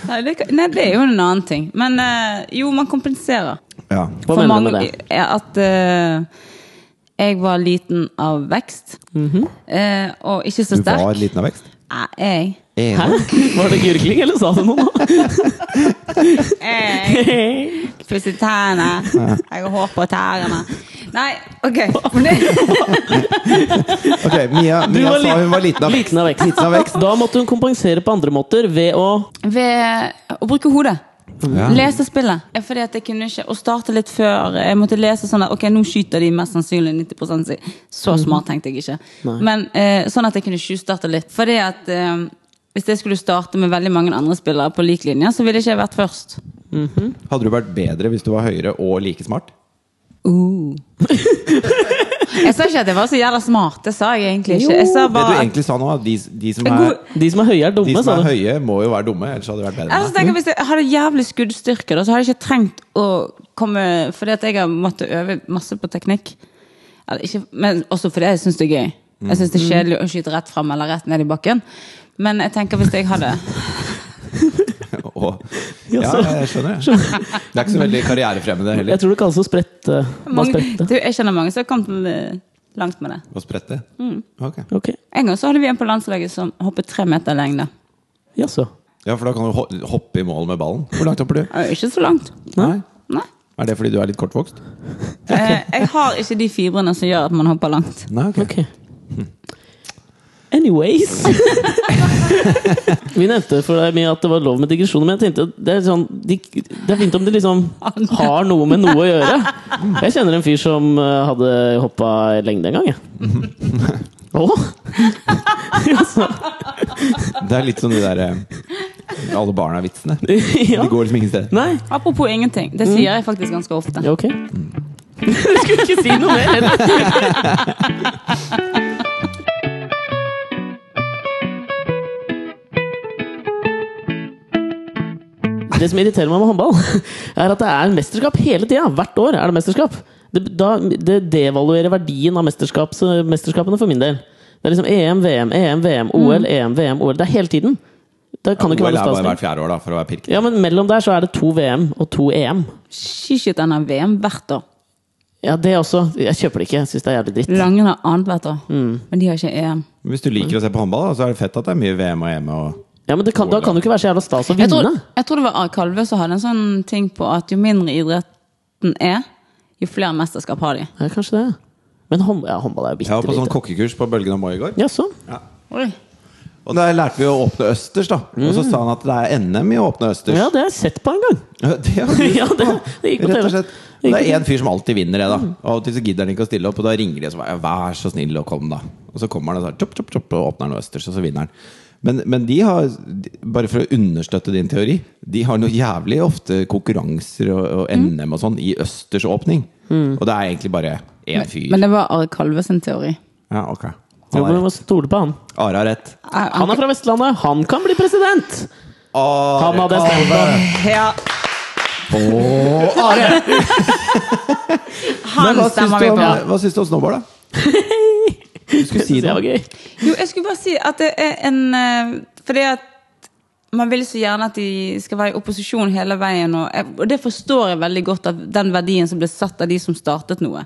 Speaker 3: Nei, det, kan- nei, det er jo en annen ting. Men eh, jo, man kompenserer.
Speaker 2: Ja.
Speaker 1: Hva
Speaker 3: For
Speaker 1: mener du
Speaker 3: mange-
Speaker 1: med det?
Speaker 3: er At eh, Jeg var liten av vekst.
Speaker 1: Mhm.
Speaker 3: eh, og ikke så
Speaker 2: Du
Speaker 3: sterk.
Speaker 2: var liten av vekst?
Speaker 3: Nei, jeg.
Speaker 1: Hæ? Var det gurgling, eller sa du noe nå?
Speaker 3: jeg Pusser tærne. Jeg har hår på tærne. Nei, OK. Men det-
Speaker 2: Ok, Mia,
Speaker 1: Du
Speaker 2: Mia
Speaker 1: var
Speaker 2: sa
Speaker 1: lit-
Speaker 2: hun var liten
Speaker 1: Liten
Speaker 2: av vekst.
Speaker 1: av vekst.
Speaker 2: Liten av vekst.
Speaker 1: Da måtte hun kompensere på andre måter ved å
Speaker 3: Ved å bruke hodet.
Speaker 2: Ja.
Speaker 3: Lese spillet. Eh, Fordi at jeg kunne ikke Å starte litt før. Jeg måtte lese sånn at Ok, nå skyter de mest sannsynlig 90 si. Så smart tenkte jeg ikke.
Speaker 1: Nei.
Speaker 3: Men eh, sånn at jeg kunne tjuvstarte litt. Fordi at eh, hvis jeg skulle starte med veldig mange andre spillere på lik linje, så ville ikke jeg vært først.
Speaker 2: Hadde du vært bedre hvis du var høyere og like smart?
Speaker 3: Uh. jeg sa ikke at jeg var så jævla smart. Det sa jeg egentlig ikke. Jeg sa
Speaker 2: Det du
Speaker 3: bare at
Speaker 2: egentlig sa nå, de, de, som er,
Speaker 3: God-
Speaker 1: De som er høye, er
Speaker 2: de
Speaker 1: dumme,
Speaker 2: som
Speaker 1: sa
Speaker 2: er
Speaker 1: du.
Speaker 2: høye, må jo være dumme, ellers hadde det vært bedre.
Speaker 3: Jeg tenker, Altså, hvis jeg hadde jævlig skuddstyrke, da, så hadde jeg ikke trengt å komme Fordi at jeg har måttet øve masse på teknikk. Eller ikke, men også fordi jeg syns det er gøy. Jeg syns det er kjedelig å skyte rett fram eller rett ned i bakken. Men jeg tenker hvis jeg hadde
Speaker 2: Og,
Speaker 1: Ja,
Speaker 2: ja,
Speaker 1: så-
Speaker 2: jeg skjønner. det. Det er ikke så veldig karrierefremmende
Speaker 1: Jeg
Speaker 2: heller
Speaker 1: tror det kalles å sprette. eh, Hva
Speaker 3: mange,
Speaker 1: sprette?
Speaker 3: du, Jeg kjenner mange som har kommet eh, langt med det.
Speaker 2: å sprette.
Speaker 1: Mm.
Speaker 2: Ok.
Speaker 1: Ok.
Speaker 3: En gang så hadde vi en på landslaget som hoppet tre meter lengde.
Speaker 1: Jaså.
Speaker 2: Ja, for da kan du ho- hoppe i mål med ballen. Hvor langt hopper du?
Speaker 3: Eh, Ikke så langt.
Speaker 2: Nei.
Speaker 3: Nei.
Speaker 2: Er det fordi du er litt kortvokst?
Speaker 3: Eh, Jeg har ikke de fibrene som gjør at man hopper langt.
Speaker 2: Nei, ok.
Speaker 1: Ok. Anyways Vi nevnte for deg mye at det var lov med digresjoner, men jeg tenkte at det er, sånn, de, det er fint om det liksom har noe med noe å gjøre. Jeg kjenner en fyr som eh, hadde hoppa lengde en gang, jeg. Åh? Jaså.
Speaker 2: Det er litt som de der eh, alle barna-vitsene.
Speaker 1: Ja.
Speaker 2: De går liksom ingen steder.
Speaker 1: Nei?
Speaker 3: Apropos ingenting. Det sier jeg faktisk ganske ofte.
Speaker 1: Ja, ok. Du skulle ikke si noe mer! eller? Det som irriterer meg med håndball, er at det er mesterskap hele tida. Hvert år er det mesterskap. Det, da, det devaluerer verdien av mesterskaps, mesterskapene for min del. Det er liksom EM, VM, EM, VM, OL, EM, VM, OL. Det er hele tiden. Da kan det ikke
Speaker 2: OL
Speaker 1: være
Speaker 2: er bare
Speaker 1: stas.
Speaker 2: hvert fjerde år, da, for å være pirket.
Speaker 1: Ja, men mellom der så er det to VM og to E EM.
Speaker 3: Skiskyt NM VM hvert år.
Speaker 1: Ja, det også. Jeg kjøper det ikke. Jeg syns det er jævlig dritt.
Speaker 3: Langrenn har annethvert år, men de har ikke EM.
Speaker 2: Hvis du liker å se på håndball, da, så er det fett at det er mye VM og EM. Og
Speaker 1: Ja, men det kan, Da kan det jo ikke være så jævla stas å
Speaker 3: Jeg tror,
Speaker 1: vinne.
Speaker 3: jeg tror det var Ari Kalve som hadde en sånn ting på at jo mindre idretten er, jo flere mesterskap har de.
Speaker 1: Ja, kanskje det. Men hånd, ja, håndball er jo
Speaker 2: jeg
Speaker 1: bitte
Speaker 2: var på sånn
Speaker 1: lite.
Speaker 2: kokkekurs på Bølgen og Moi i går.
Speaker 1: Jaså?
Speaker 2: Og der lærte vi å åpne østers, da. Og så sa han at det er NM i å åpne østers.
Speaker 1: Mm. Ja, det har jeg sett på en gang.
Speaker 2: Det har du
Speaker 1: Ja, det, det gikk på
Speaker 2: Rett
Speaker 1: TV.
Speaker 2: og
Speaker 1: Mm.
Speaker 2: slett. Det er én fyr som alltid vinner det, da. Og av og til så gidder han ikke å stille opp, og da ringer de og så bare, vær så snill å komme, da. Og så kommer han og så, chop, chop, chop, og åpner han noe østers, og så vinner han. Men, men de har, de- bare for å understøtte din teori, de har noe jævlig ofte konkurranser og, og
Speaker 1: Mm.
Speaker 2: NM og sånn i østersåpning. Og det er egentlig bare én fyr.
Speaker 3: Men det var Ari Kalve sin teori.
Speaker 2: ja, ok.
Speaker 1: Jo, men
Speaker 2: Han har
Speaker 1: vi
Speaker 2: rett.
Speaker 1: må stole på han.
Speaker 2: Are har rett.
Speaker 1: Han er fra Vestlandet. Han kan bli president!
Speaker 2: Are
Speaker 1: Han hadde jeg stemt på.
Speaker 3: Ja,
Speaker 2: Å, Are! Men
Speaker 3: han
Speaker 2: hva syns
Speaker 3: stemmer
Speaker 2: du
Speaker 3: vi
Speaker 2: om,
Speaker 3: på.
Speaker 2: hva syns du om snowboard, da? Du skulle si
Speaker 1: Så Det
Speaker 2: noe.
Speaker 1: var gøy.
Speaker 3: Jo, jeg skulle bare si at det er en eh, Fordi at man vil så gjerne at de skal være i opposisjon hele veien. Og, jeg, og det forstår jeg veldig godt, av den verdien som ble satt av de som startet noe.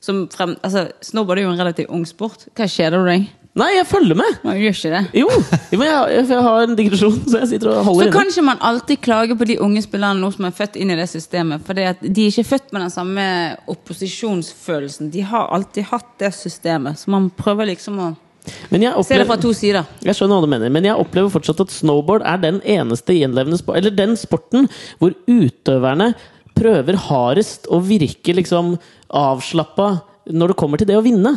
Speaker 3: Som frem, altså, Snowboard er jo en relativt ung sport. Hva kjeder du deg?
Speaker 1: Nei, jeg følger med!
Speaker 3: Man gjør ikke det.
Speaker 1: Jo! jo, men jeg, jeg har en digresjon, så jeg sitter og
Speaker 3: Så
Speaker 1: holder
Speaker 3: kan
Speaker 1: inne.
Speaker 3: ikke man alltid klage på de unge spillerne nå som er født inn i det systemet. For at de er ikke født med den samme opposisjonsfølelsen. De har alltid hatt det systemet. Så man prøver liksom å
Speaker 1: Men jeg
Speaker 3: se det fra
Speaker 1: opplever,
Speaker 3: to sider.
Speaker 1: Jeg skjønner hva du mener, men jeg opplever fortsatt at snowboard er den eneste gjenlevende spo- Eller den sporten hvor utøverne prøver hardest å virke liksom avslappa når det kommer til det å vinne.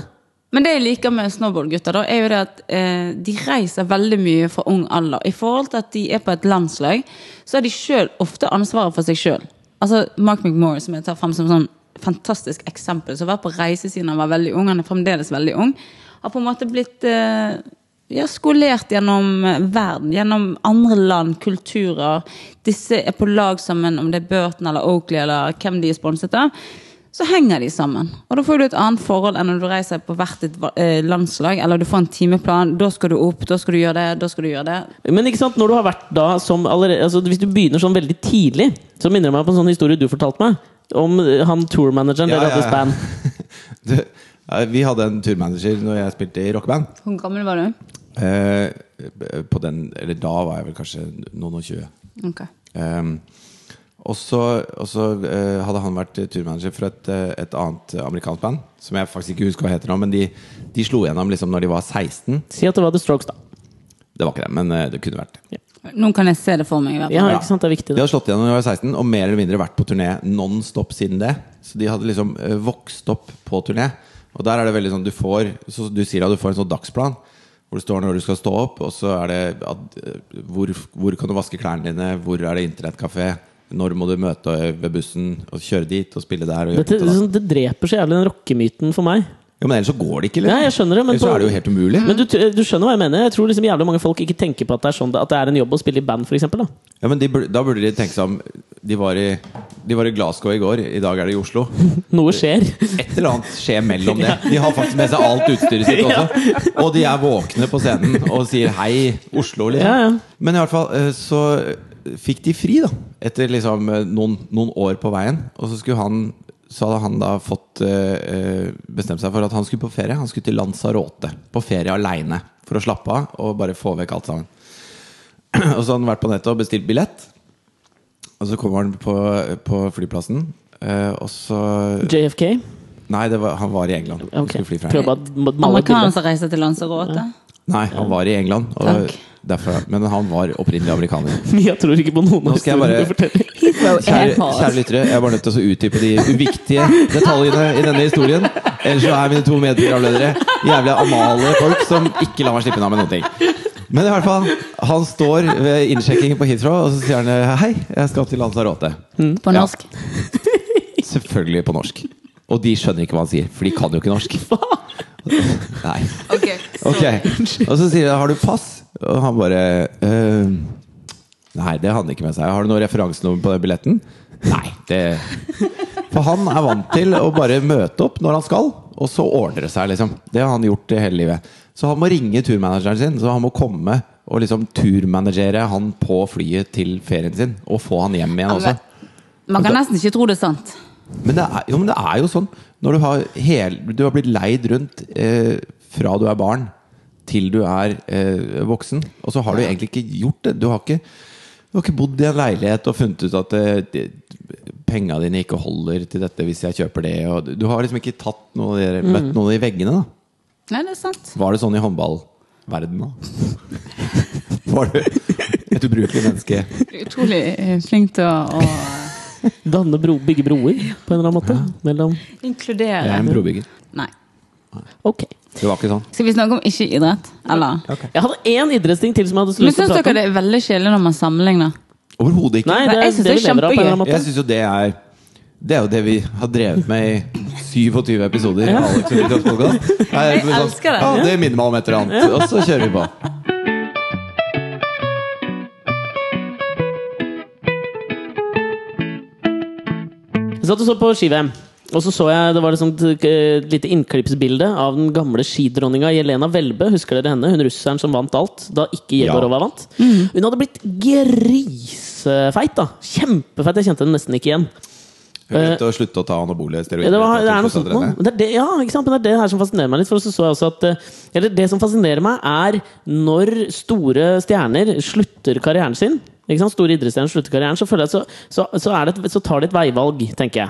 Speaker 3: Men det jeg liker med snowboardgutter, da, er jo det at eh, de reiser veldig mye fra ung alder. I forhold til at de er på et landslag, så har de sjøl ofte ansvaret for seg sjøl. Altså Mark McMorrow, som jeg tar frem som sånn fantastisk eksempel, som har vært på reise siden han var veldig ung, han er fremdeles veldig ung, har på en måte blitt eh, ja, skolert gjennom eh, verden, gjennom andre land, kulturer. Disse er på lag sammen, om det er Burton eller Oakley eller hvem de er sponset av så henger de sammen. Og da får du et annet forhold enn når du reiser på hvert ditt eh, landslag, eller du får en timeplan. Da skal du opp, da skal du gjøre det, da skal du gjøre det.
Speaker 1: Men ikke sant, når du har vært da som allerede, altså Hvis du begynner sånn veldig tidlig, så minner det meg på en sånn historie du fortalte meg. Om eh, han tourmanageren
Speaker 2: Ja,
Speaker 1: dere hadde
Speaker 2: ja,
Speaker 1: i
Speaker 2: ja.
Speaker 1: span.
Speaker 2: Du, Eh, Vi hadde en turmanager når jeg spilte i rockeband.
Speaker 3: Hvor gammel var du?
Speaker 2: Eh, På den, eller da var jeg vel kanskje noen og tjue.
Speaker 3: Ok.
Speaker 2: Ehm, og så, og så eh, hadde han vært turmanager for et, eh, et annet amerikansk band, som jeg faktisk ikke husker hva heter nå, men de, de slo gjennom liksom når de var 16.
Speaker 1: Si at det var The Strokes, da.
Speaker 2: Det var ikke det, men eh, det kunne vært det.
Speaker 3: Nå kan jeg se det for meg. i hvert fall.
Speaker 1: Ja, ikke sant? Det er viktig.
Speaker 2: De
Speaker 1: Det.
Speaker 2: hadde slått igjennom da de var 16, og mer eller mindre vært på turné non stop siden det. Så de hadde liksom eh, vokst opp på turné. Og der er det veldig sånn Du får så du sier at du får en sånn dagsplan hvor det står når du skal stå opp, og så er det at, eh, hvor, hvor kan du vaske klærne dine, hvor er det internettkafé, når må du møte eh, ved bussen og kjøre dit og spille der og gjøre
Speaker 1: Dette,
Speaker 2: ditt og datt.
Speaker 1: sånn, det dreper så jævlig den rockemyten for meg.
Speaker 2: Ja, Men ellers så går det ikke,
Speaker 1: Ja, jeg skjønner det, men
Speaker 2: ellers så
Speaker 1: på-
Speaker 2: er det jo helt umulig.
Speaker 1: Men du, tr- du skjønner hva jeg mener? Jeg tror liksom jævlig mange folk ikke tenker på at det er, sånn, at det er en jobb å spille i band, for eksempel, da.
Speaker 2: Ja, men de, bur- Da burde de tenke seg om de var, i, de var i Glasgow i går, i dag er det i Oslo.
Speaker 1: Noe skjer.
Speaker 2: et eller annet skje mellom det. De har faktisk med seg alt utstyret sitt også. Og de er våkne på scenen og sier 'hei, Oslo',
Speaker 1: Ja, ja.
Speaker 2: liksom. Men i hvert fall eh, så fikk de fri, da. Etter liksom eh, noen, noen år på veien. Og så skulle han så hadde han da fått eh, eh, bestemt seg for at han skulle på ferie. Han skulle til Lanzarote på ferie aleine for å slappe av og bare få vekk alt sammen. Og så hadde han vært på nettet og bestilt billett. Og så kommer han på, på flyplassen, eh, og så
Speaker 1: JFK.
Speaker 2: Nei, det var, han var i England. Han
Speaker 1: Ok.
Speaker 2: skulle fly fra
Speaker 1: Prøv bare
Speaker 2: England.
Speaker 1: å male et
Speaker 3: Amerikaner
Speaker 1: bilde.
Speaker 3: som reiser til Lanzarote.
Speaker 2: Nei, han var i England. Og
Speaker 3: Takk.
Speaker 2: derfra, men han var opprinnelig amerikaner.
Speaker 3: sånn-
Speaker 1: Jeg tror ikke på noen av
Speaker 2: Nå skal
Speaker 1: historiene
Speaker 2: jeg bare-
Speaker 1: du forteller.
Speaker 3: Heathrow
Speaker 2: Kjære, kjære
Speaker 3: Airport.
Speaker 2: lyttere, jeg er bare nødt til å utdype de uviktige detaljene i denne historien. Ellers så er mine to medprogramledere jævlig amale folk som ikke lar meg slippe unna med noen ting. Men i hvert fall, han står ved innsjekkingen på Heathrow, og så sier han hei, jeg skal til Lanzarote.
Speaker 3: På norsk.
Speaker 2: Selvfølgelig på norsk. Og de skjønner ikke hva han sier, for de kan jo ikke norsk. Nei
Speaker 3: Ok,
Speaker 2: Ok, Og så sier jeg 'har du pass?' Og han bare «Eh, Nei, det hadde han ikke med seg. 'Har du noe referansenummer på den billetten?' Nei. det For han er vant til å bare møte opp når han skal, og så ordner det seg. liksom Det har han gjort i hele livet. Så han må ringe turmanageren sin, så han må komme og liksom turmanagere han på flyet til ferien sin, og få han hjem igjen også.
Speaker 3: Man kan nesten ikke tro det er sant.
Speaker 2: Men det er jo, men det er jo sånn Når du har, hel, du har blitt leid rundt eh, Fra du er barn Til du er eh, voksen Og så har du egentlig ikke gjort det Du har ikke, du har ikke bodd i en leilighet Og funnet ut at eh, de, Penga dine ikke holder til dette hvis jeg kjøper det og Du har liksom ikke tatt noe, av det- Møtt noen i veggene da
Speaker 3: Nei, det er sant.
Speaker 2: Var det sånn i håndballverden da? Var du et ubrukelig menneske
Speaker 3: Utrolig eh, flink til å å
Speaker 1: Danne bro, bygge broer, på en eller annen måte. Mellom
Speaker 2: Jeg er
Speaker 3: inkludere.
Speaker 2: en brobygger
Speaker 3: Nei.
Speaker 1: Ok.
Speaker 2: Det var ikke sånn
Speaker 3: Skal vi snakke om ikke-idrett, eller?
Speaker 1: Jeg hadde én idrettsting til som jeg hadde så
Speaker 3: Men
Speaker 1: lyst til å
Speaker 3: syns
Speaker 1: prate om.
Speaker 3: dere det er veldig kjedelig når man sammenligner?
Speaker 2: Overhodet ikke
Speaker 1: Nei,
Speaker 3: Nei,
Speaker 1: det er
Speaker 3: jeg synes
Speaker 1: det vi
Speaker 3: det er
Speaker 1: lever av. på en eller annen
Speaker 2: Jeg
Speaker 1: måte
Speaker 2: syns jo det er Det er jo det vi har drevet med i 27 episoder. i Alex og Fridtjofs podcast. Nei,
Speaker 3: Jeg
Speaker 2: det blir sånn,
Speaker 3: elsker det.
Speaker 2: Ja, det minner meg om et eller annet. Og så kjører vi på.
Speaker 1: Jeg satt og så på ski-VM. Og så så jeg, Det var liksom et eh, lite innklippsbilde av den gamle skidronninga Jelena Welbe. Husker dere henne? Hun russeren som vant alt da ikke
Speaker 2: Ja.
Speaker 1: Jegorova vant.
Speaker 3: Mm.
Speaker 1: Hun hadde blitt grisefeit. da Kjempefeit. Jeg kjente henne nesten ikke igjen.
Speaker 2: Hun begynte å slutte å ta anabole steroider.
Speaker 1: Eh, Ja, det, var,
Speaker 2: etter
Speaker 1: det
Speaker 2: at
Speaker 1: er
Speaker 2: hun
Speaker 1: noe sånt
Speaker 2: sluttet å
Speaker 1: noe.
Speaker 2: trene.
Speaker 1: Men Det er det, ja, ikke sant? Men det er det her som fascinerer meg litt. For så så jeg også at eh, Eller det som fascinerer meg, er når store stjerner slutter karrieren sin. Ikke sant? Store idrettsstjerner slutter karrieren, så, føler jeg at så, så, så, er det, et- så tar de et veivalg, tenker jeg.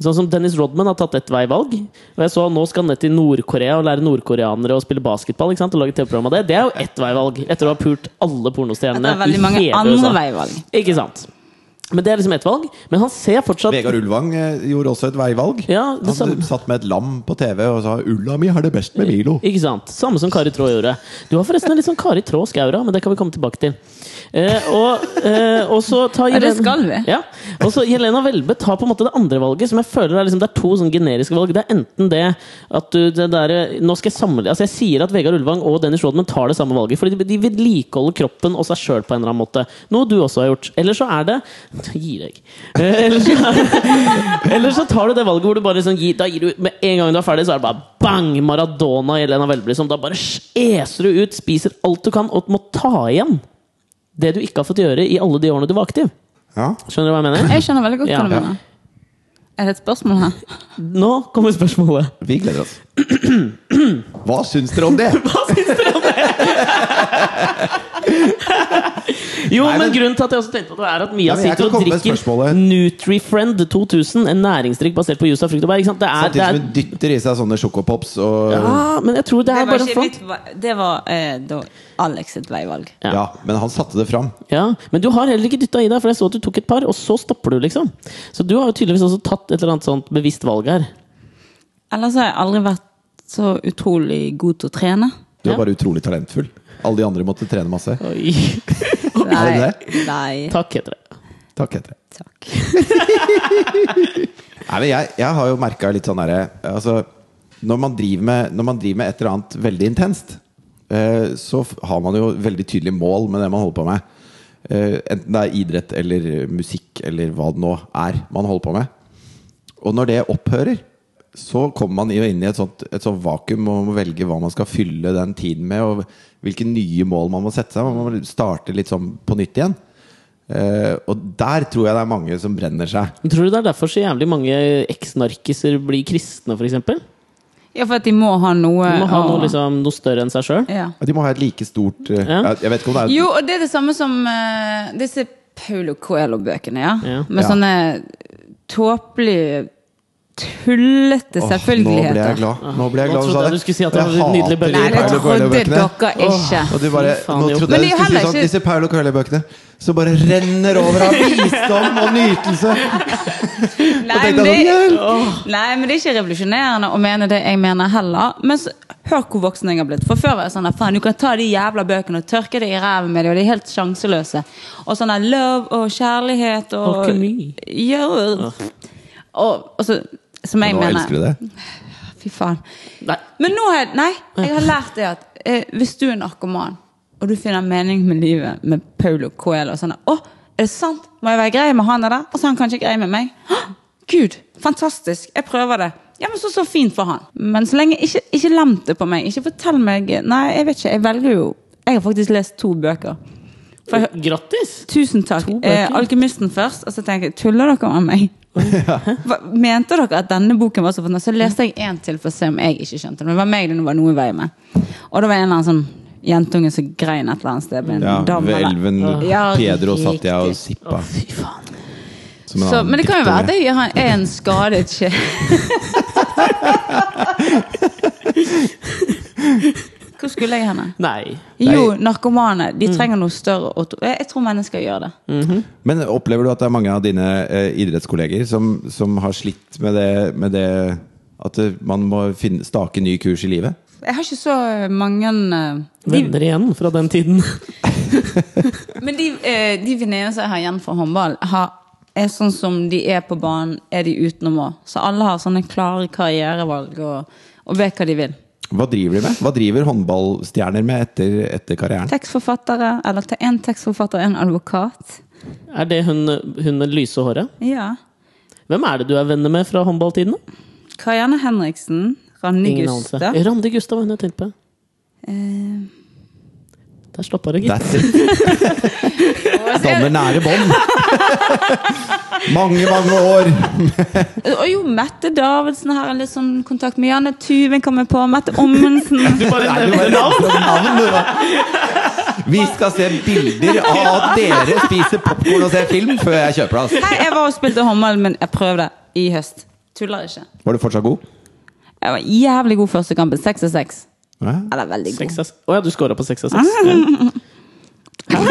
Speaker 1: Sånn som Dennis Rodman har tatt ett veivalg. Og jeg så Nå skal han ned til Nord-Korea og lære nordkoreanere å spille basketball. Ikke sant? Og lage TV-program av det. Det er jo ett veivalg, etter å ha pult alle
Speaker 3: Det
Speaker 1: pornostjernene.
Speaker 3: er veldig
Speaker 1: i
Speaker 3: mange
Speaker 1: hele USA.
Speaker 3: andre veivalg.
Speaker 1: Ikke sant? Men det er liksom ett valg. Men han ser fortsatt
Speaker 2: Vegard Ulvang eh, gjorde også et veivalg.
Speaker 1: Ja, det
Speaker 2: han
Speaker 1: samme.
Speaker 2: satt med et lam på TV og sa 'Ulla mi har det best med Milo'.
Speaker 1: Ikke sant? Samme som Kari Traa gjorde. Du har forresten en litt sånn Kari Traa skaura, men det kan vi komme tilbake til. Eh, og, eh, og så tar
Speaker 3: Ja, det
Speaker 1: Jelena-
Speaker 3: skal vi.
Speaker 1: Ja. Og så Jelena Welbe tar på en måte det andre valget, som jeg føler er liksom, det er to sånne generiske valg. Det er enten det at du det der, Nå skal jeg sammenligne Altså, jeg sier at Vegard Ulvang og Dennis Rodman tar det samme valget, fordi de- de vedlikeholder kroppen og seg sjøl på en eller annen måte. Noe du også har gjort. Eller så er det Gir deg. Eh, eller, så er, eller så tar du det valget hvor du bare sånn gir, Da gir du Med en gang du er ferdig, så er det bare bang! Maradona og Jelena Welbe, liksom. Da bare eser du ut, spiser alt du kan, og må ta igjen det du ikke har fått gjøre i alle de årene du var aktiv.
Speaker 2: Ja.
Speaker 1: Skjønner du hva jeg mener?
Speaker 3: Jeg skjønner veldig godt
Speaker 1: Ja.
Speaker 3: hva du mener. Er det et spørsmål her?
Speaker 1: Nå kommer spørsmålet.
Speaker 2: Vi gleder oss. Hva syns dere om det?
Speaker 1: Hva syns dere om det? jo,
Speaker 2: Nei,
Speaker 1: men,
Speaker 2: men-
Speaker 1: grunnen til at jeg også tenkte på det, er at Mia
Speaker 2: Ja, men jeg
Speaker 1: sitter
Speaker 2: kan
Speaker 1: og
Speaker 2: komme med
Speaker 1: drikker
Speaker 2: spørsmålet.
Speaker 1: NutriFriend 2000, en næringsdrikk basert på juice av frukt og bær. Ikke sant? Det er, det er,
Speaker 2: Samtidig Sånn som hun dytter i seg sånne sjokopops og
Speaker 1: ja, men jeg tror det er
Speaker 3: Det var,
Speaker 1: bare en
Speaker 3: ikke
Speaker 1: fant...
Speaker 3: mitt, va- det var eh, da Alex sitt veivalg.
Speaker 1: Ja.
Speaker 2: Ja, men han satte det fram.
Speaker 1: Ja, Men du har heller ikke dytta i deg, for jeg så at du tok et par, og så stopper du, liksom. Så du har jo tydeligvis også tatt et eller annet sånt bevisst valg her.
Speaker 3: Ellers har jeg aldri vært så utrolig god til å trene.
Speaker 2: Du
Speaker 1: Ja.
Speaker 2: er bare utrolig talentfull. Alle de andre måtte trene masse.
Speaker 1: Oi.
Speaker 2: Er det
Speaker 3: Nei. Nei.
Speaker 1: Takk, heter det.
Speaker 2: Takk, heter det.
Speaker 3: Takk.
Speaker 2: Nei, men jeg, jeg har jo merka litt sånn derre altså, når, man driver med- når man driver med et eller annet veldig intenst, eh, så f- har man jo veldig tydelige mål med det man holder på med. Eh, enten det er idrett eller musikk eller hva det nå er man holder på med. Og når det opphører, så kommer man jo inn i et sånt, et sånt vakuum og må velge hva man skal fylle den tiden med, og hvilke nye mål man må sette seg. Man må starte litt sånn på nytt igjen. Eh, og der tror jeg det er mange som brenner seg.
Speaker 1: Men Tror du det er derfor så jævlig mange eksnarkiser blir kristne, f.eks.? De
Speaker 3: Ja, for at de må ha noe
Speaker 1: må ha
Speaker 3: å-
Speaker 1: noe, liksom, noe større enn seg sjøl.
Speaker 3: ja.
Speaker 2: Ja, De må ha et like stort eh,
Speaker 1: Ja.
Speaker 2: jeg- Jeg vet ikke om det er
Speaker 3: Jo, og det er det samme som eh, disse Paulo Coelho-bøkene, ja.
Speaker 1: Ja.
Speaker 3: Med
Speaker 2: Ja.
Speaker 3: sånne tåpelige, tullete
Speaker 2: Åh, Nå ble jeg
Speaker 3: selvfølgelig.
Speaker 2: glad. Nå ble jeg
Speaker 1: Nå
Speaker 2: glad
Speaker 1: trodde jeg
Speaker 2: det.
Speaker 1: du skulle si at
Speaker 2: Og
Speaker 1: det
Speaker 2: jeg
Speaker 1: var nydelig
Speaker 2: hater
Speaker 1: bølge.
Speaker 3: Nei,
Speaker 2: de
Speaker 3: det
Speaker 2: Paulo
Speaker 3: trodde
Speaker 2: Coelho-bøkene.
Speaker 3: dere ikke.
Speaker 2: Og du bare,
Speaker 1: Fy faen,
Speaker 2: nå
Speaker 1: jo.
Speaker 2: trodde
Speaker 3: Men
Speaker 2: jeg du skulle
Speaker 3: det er
Speaker 2: si
Speaker 3: heller
Speaker 2: sånn
Speaker 3: ikke-
Speaker 2: Disse Paulo Coelho-bøkene som bare renner over av visdom og nytelse.
Speaker 3: Nei,
Speaker 2: tenkte
Speaker 3: men det,
Speaker 2: jeg sånn,
Speaker 3: nei, men det er ikke revolusjonerende å mene det jeg mener heller. Men så, hør hvor voksen jeg har blitt. For før var jeg sånn der, faen, du kan ta de jævla bøkene og tørke det i ræven med det, og de er helt sjanseløse. Og sånn der love og kjærlighet og
Speaker 1: Alkemi.
Speaker 3: Ja, og, og, og så, som jeg
Speaker 2: Nå
Speaker 3: mener
Speaker 2: elsker du det.
Speaker 3: Fy faen.
Speaker 1: Nei.
Speaker 3: Men nå har jeg Nei, jeg har lært det at eh, hvis du er narkoman, og du finner mening med livet med Paulo Coelho og sånn Å, er det sant? Må jeg være grei med han der? Og så er han kanskje grei med meg? Hå, Gud, fantastisk. Jeg prøver det. Ja, men så, så fint for han. Men så lenge Ikke, ikke lem det på meg. Ikke fortell meg Nei, jeg vet ikke. Jeg velger jo Jeg har faktisk lest to bøker. For jeg,
Speaker 1: Grattis!
Speaker 3: tusen takk.
Speaker 1: To bøker?
Speaker 3: Eh, Alkymisten først. Og så tenker jeg Tuller dere med meg? Hva, mente dere at denne boken var så fantastisk? Så leste jeg en til for å se om jeg ikke skjønte det. Men det var meg det var noe i vei med. Og det var en eller annen sånn jentunge som grein et eller annet sted med en
Speaker 2: Ja,
Speaker 3: dam.
Speaker 2: ved
Speaker 3: eller-
Speaker 2: elven
Speaker 3: Ja,
Speaker 2: Pedro satt jeg og
Speaker 3: riktig.
Speaker 2: sippa.
Speaker 1: Fy faen.
Speaker 2: som en
Speaker 3: Så,
Speaker 2: annen
Speaker 3: men det kan jo være
Speaker 2: dikter.
Speaker 3: at jeg har- er en skadet sjel. Hvor skulle jeg henne?
Speaker 1: Nei.
Speaker 3: Jo, narkomane.
Speaker 2: Mm.
Speaker 3: De trenger noe større. å tro- Jeg jeg tror mennesker gjør det.
Speaker 2: Men opplever du at det er mange av dine eh, idrettskolleger som, som har slitt med det, med det At eh, man må finne, stake ny kurs i livet?
Speaker 3: Jeg har ikke så mange eh, de,
Speaker 1: Venner igjen fra den tiden.
Speaker 3: Men de, eh, de venninnene som jeg har igjen fra håndball, har, er sånn som de er på banen, er de utenom òg. Så alle har sånne klare karrierevalg og, og vet hva de vil.
Speaker 2: Hva driver de med? Hva driver håndballstjerner med etter, etter karrieren?
Speaker 3: Tekstforfattere, eller til én tekstforfatter og en advokat.
Speaker 1: Er det hun, hun med det lyse håret?
Speaker 3: Ja.
Speaker 1: Hvem er det du er venner med fra håndballtiden? da?
Speaker 3: Karianne Henriksen. Ranni
Speaker 1: Ingen anelse.
Speaker 3: Gusta.
Speaker 1: Randi Gustav, hun jeg tenkte på.
Speaker 3: Eh,
Speaker 1: Der stoppa det, gitt.
Speaker 2: That's it. Danner nære bånd. Mange, mange år.
Speaker 3: og jo, Mette Davidsen har jeg litt sånn kontakt med. Janne Tuven kommer på. Mette Ommensen.
Speaker 2: Nei, du bare nevnte navn, du, da. Vi skal se bilder av at dere spiser popkorn og ser film før jeg kjøper det.
Speaker 3: Hei, jeg var og spilte håndball, men jeg prøvde i høst. Tuller ikke.
Speaker 2: ass. Var du fortsatt god?
Speaker 3: Jeg var jævlig god første kampen. Seks av seks.
Speaker 2: Ja.
Speaker 3: Eller veldig god.
Speaker 1: Seks av- Å ja, du scora på seks av seks.
Speaker 3: Ah.
Speaker 1: Ja.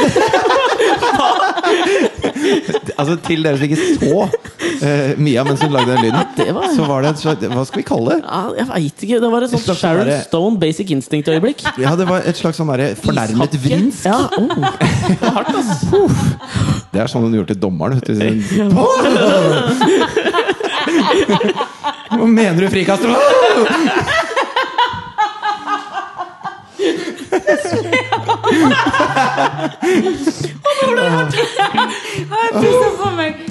Speaker 2: Altså, til dere som ikke så eh, Mia mens hun lagde den lyden,
Speaker 1: var-
Speaker 2: så var det et slags Hva skal vi kalle det?
Speaker 1: Ja, jeg veit ikke. Det var et sånt
Speaker 2: slags
Speaker 1: Sharon
Speaker 2: sånn derre-
Speaker 1: Stone basic instinct-øyeblikk.
Speaker 2: Ja, det var et slags sånn derre fornærmet
Speaker 1: Ishakke.
Speaker 2: vrinsk.
Speaker 1: Ja, oh. Det var hardt, ass.
Speaker 2: Det er sånn hun gjorde til dommeren. Vet du. Hva mener du, frikast?
Speaker 3: Jeg pusser på meg.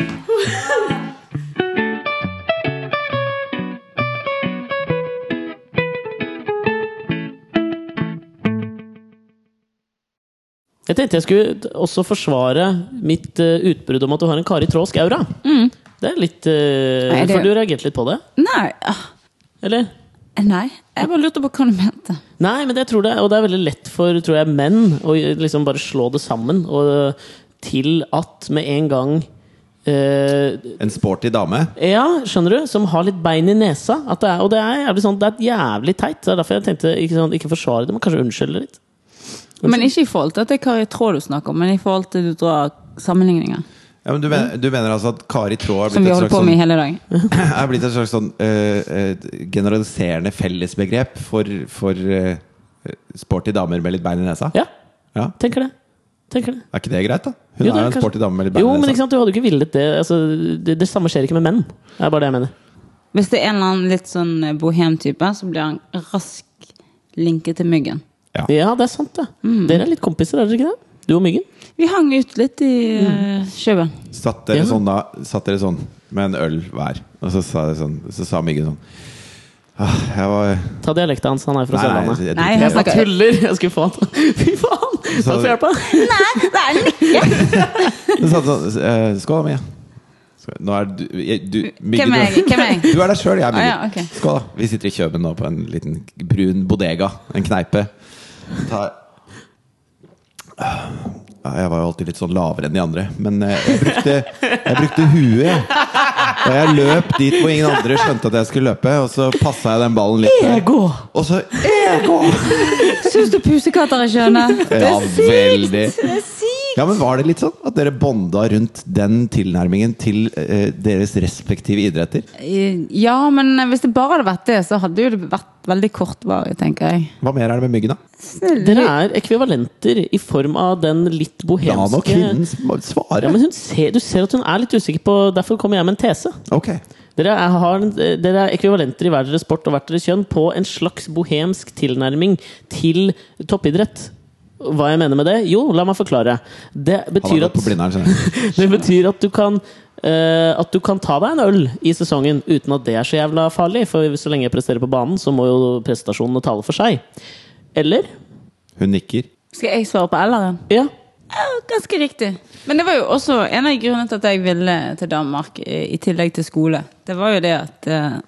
Speaker 1: Jeg tenkte jeg skulle også forsvare mitt eh, utbrudd om at du har en Kari Traa Skaura. Det er litt eh,
Speaker 3: Mm. Nei, det-
Speaker 1: For du reagerte litt på det?
Speaker 3: Nei. ah,
Speaker 1: Eller?
Speaker 3: Nei. Jeg bare lurte på hva du mente.
Speaker 1: Nei, men det tror jeg, og det er veldig lett for tror jeg, menn å liksom bare slå det sammen og, til at med en gang eh,
Speaker 2: En sporty dame.
Speaker 1: ja, skjønner du? Som har litt bein i nesa. At det er, og det er jævlig sånn, det er jævlig teit. Så det er derfor jeg tenkte ikke, sånn, ikke forsvare det, men kanskje unnskylde litt.
Speaker 3: Men ikke i forhold til at det er Kari Traa du snakker om, men i forhold til du drar sammenligninger.
Speaker 2: Ja, men du, mener, du mener altså at Kari Traa er
Speaker 3: Som
Speaker 2: blitt
Speaker 3: vi
Speaker 2: et
Speaker 3: holder
Speaker 2: slags
Speaker 3: på med i
Speaker 2: sånn,
Speaker 3: hele dag.
Speaker 2: er blitt et slags sånn eh, eh, generaliserende fellesbegrep for, for eh, sporty damer med litt bein i nesa?
Speaker 1: Ja,
Speaker 2: Ja.
Speaker 1: tenker det. Tenker det.
Speaker 2: Er ikke det greit, da? Hun
Speaker 1: Jo, det er
Speaker 2: er jo en
Speaker 1: kanskje-
Speaker 2: sporty dame med litt bein
Speaker 1: Jo,
Speaker 2: i
Speaker 1: men liksom-
Speaker 2: nesa.
Speaker 1: ikke sant, du hadde jo ikke villet det. Altså, det. Det samme skjer ikke med menn. Det er bare det jeg mener.
Speaker 3: Hvis det er en eller annen litt sånn eh, bohem-type, så blir han raskt linket til myggen.
Speaker 1: Ja, det er sant, det. Dere er litt kompiser, er dere ikke det? Du og Myggen?
Speaker 3: Vi hang ut litt i uh, sjøen.
Speaker 2: Satt dere,
Speaker 1: Ja.
Speaker 2: sånn da, satt dere sånn med en øl hver, og så sa, det sånn, så sa Myggen sånn ah, Jeg var
Speaker 1: Ta dialekten hans, han er fra
Speaker 2: Nei,
Speaker 1: Sørlandet.
Speaker 2: jeg- jeg
Speaker 3: Nei,
Speaker 2: driter i
Speaker 3: jeg
Speaker 2: det.
Speaker 1: Jeg
Speaker 3: snakker-
Speaker 1: tuller! Jeg skulle få han Fy faen! Takk for hjelpa!
Speaker 2: Så satt det sånn eh, Skål, Mia. Skål. Nå er du, jeg- du
Speaker 3: Hvem er jeg? Hvem er jeg?
Speaker 2: Du er deg sjøl, jeg er Myggen.
Speaker 3: Ah, ja, ok.
Speaker 2: Skål, da. Vi sitter i Kjøben nå på en liten brun bodega. En kneipe. Ta ja, jeg var jo alltid litt sånn lavere enn de andre, men eh, jeg brukte, jeg brukte huet. jeg. Og jeg løp dit hvor ingen andre skjønte at jeg skulle løpe, og så passa jeg den ballen litt. der.
Speaker 1: Ego!
Speaker 2: Og så Ego!
Speaker 3: Syns du pusekatter er skjønne?
Speaker 2: Ja, veldig.
Speaker 3: Det er sykt!
Speaker 2: Ja, men Var det litt sånn at dere bonda rundt den tilnærmingen til eh, deres respektive idretter?
Speaker 3: Eh, Ja, men hvis det bare hadde vært det, så hadde jo det vært veldig kortvarig, tenker jeg.
Speaker 2: Hva mer er det med myggen, da?
Speaker 1: Dere er ekvivalenter i form av den litt
Speaker 2: Da må
Speaker 1: bohemske
Speaker 2: kvinnen sm-
Speaker 1: ja,
Speaker 2: svare.
Speaker 1: men hun ser, Du ser at hun er litt usikker på Derfor kommer jeg med en tese.
Speaker 2: Ok.
Speaker 1: Dere er, har, en- dere er ekvivalenter i hver deres sport og hvert deres kjønn på en slags bohemsk tilnærming til toppidrett. Hva jeg mener med det? Jo, la meg forklare. Det
Speaker 2: Han har
Speaker 1: betyr
Speaker 2: gått på
Speaker 1: at
Speaker 2: blinderen, skjønner jeg.
Speaker 1: Det betyr at du kan eh, At du kan ta deg en øl i sesongen uten at det er så jævla farlig. For så lenge jeg presterer på banen, så må jo prestasjonene tale for seg. Eller?
Speaker 2: Hun nikker.
Speaker 3: Skal jeg svare på L-en?
Speaker 1: Ja.
Speaker 3: Ja, ganske riktig. Men det var jo også en av grunnene til at jeg ville til Danmark, eh, i tillegg til skole. Det var jo det at eh,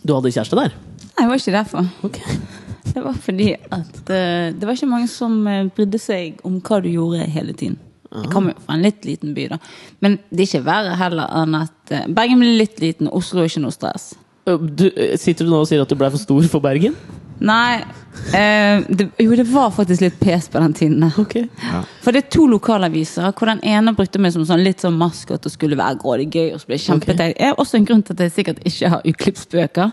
Speaker 1: Du hadde kjæreste der?
Speaker 3: Nei, det var ikke derfor.
Speaker 1: Ok.
Speaker 3: Det var fordi at eh, det var ikke mange som eh, brydde seg om hva du gjorde hele tiden. Jeg kommer jo fra en litt liten by, da. Men det er ikke verre heller enn at eh, Bergen blir litt liten, og Oslo er ikke noe stress.
Speaker 1: Ø, Du, eh, sitter du nå og sier at du ble for stor for Bergen?
Speaker 3: Nei eh, det, Jo, det var faktisk litt pes på den tiden. der.
Speaker 1: Ok.
Speaker 3: For det er to lokalaviser hvor den ene brukte meg som sånn, litt sånn maskot og skulle være grådig gøy. og så ble jeg kjempeteit. Det er også en grunn til at jeg sikkert ikke har uklippsbøker.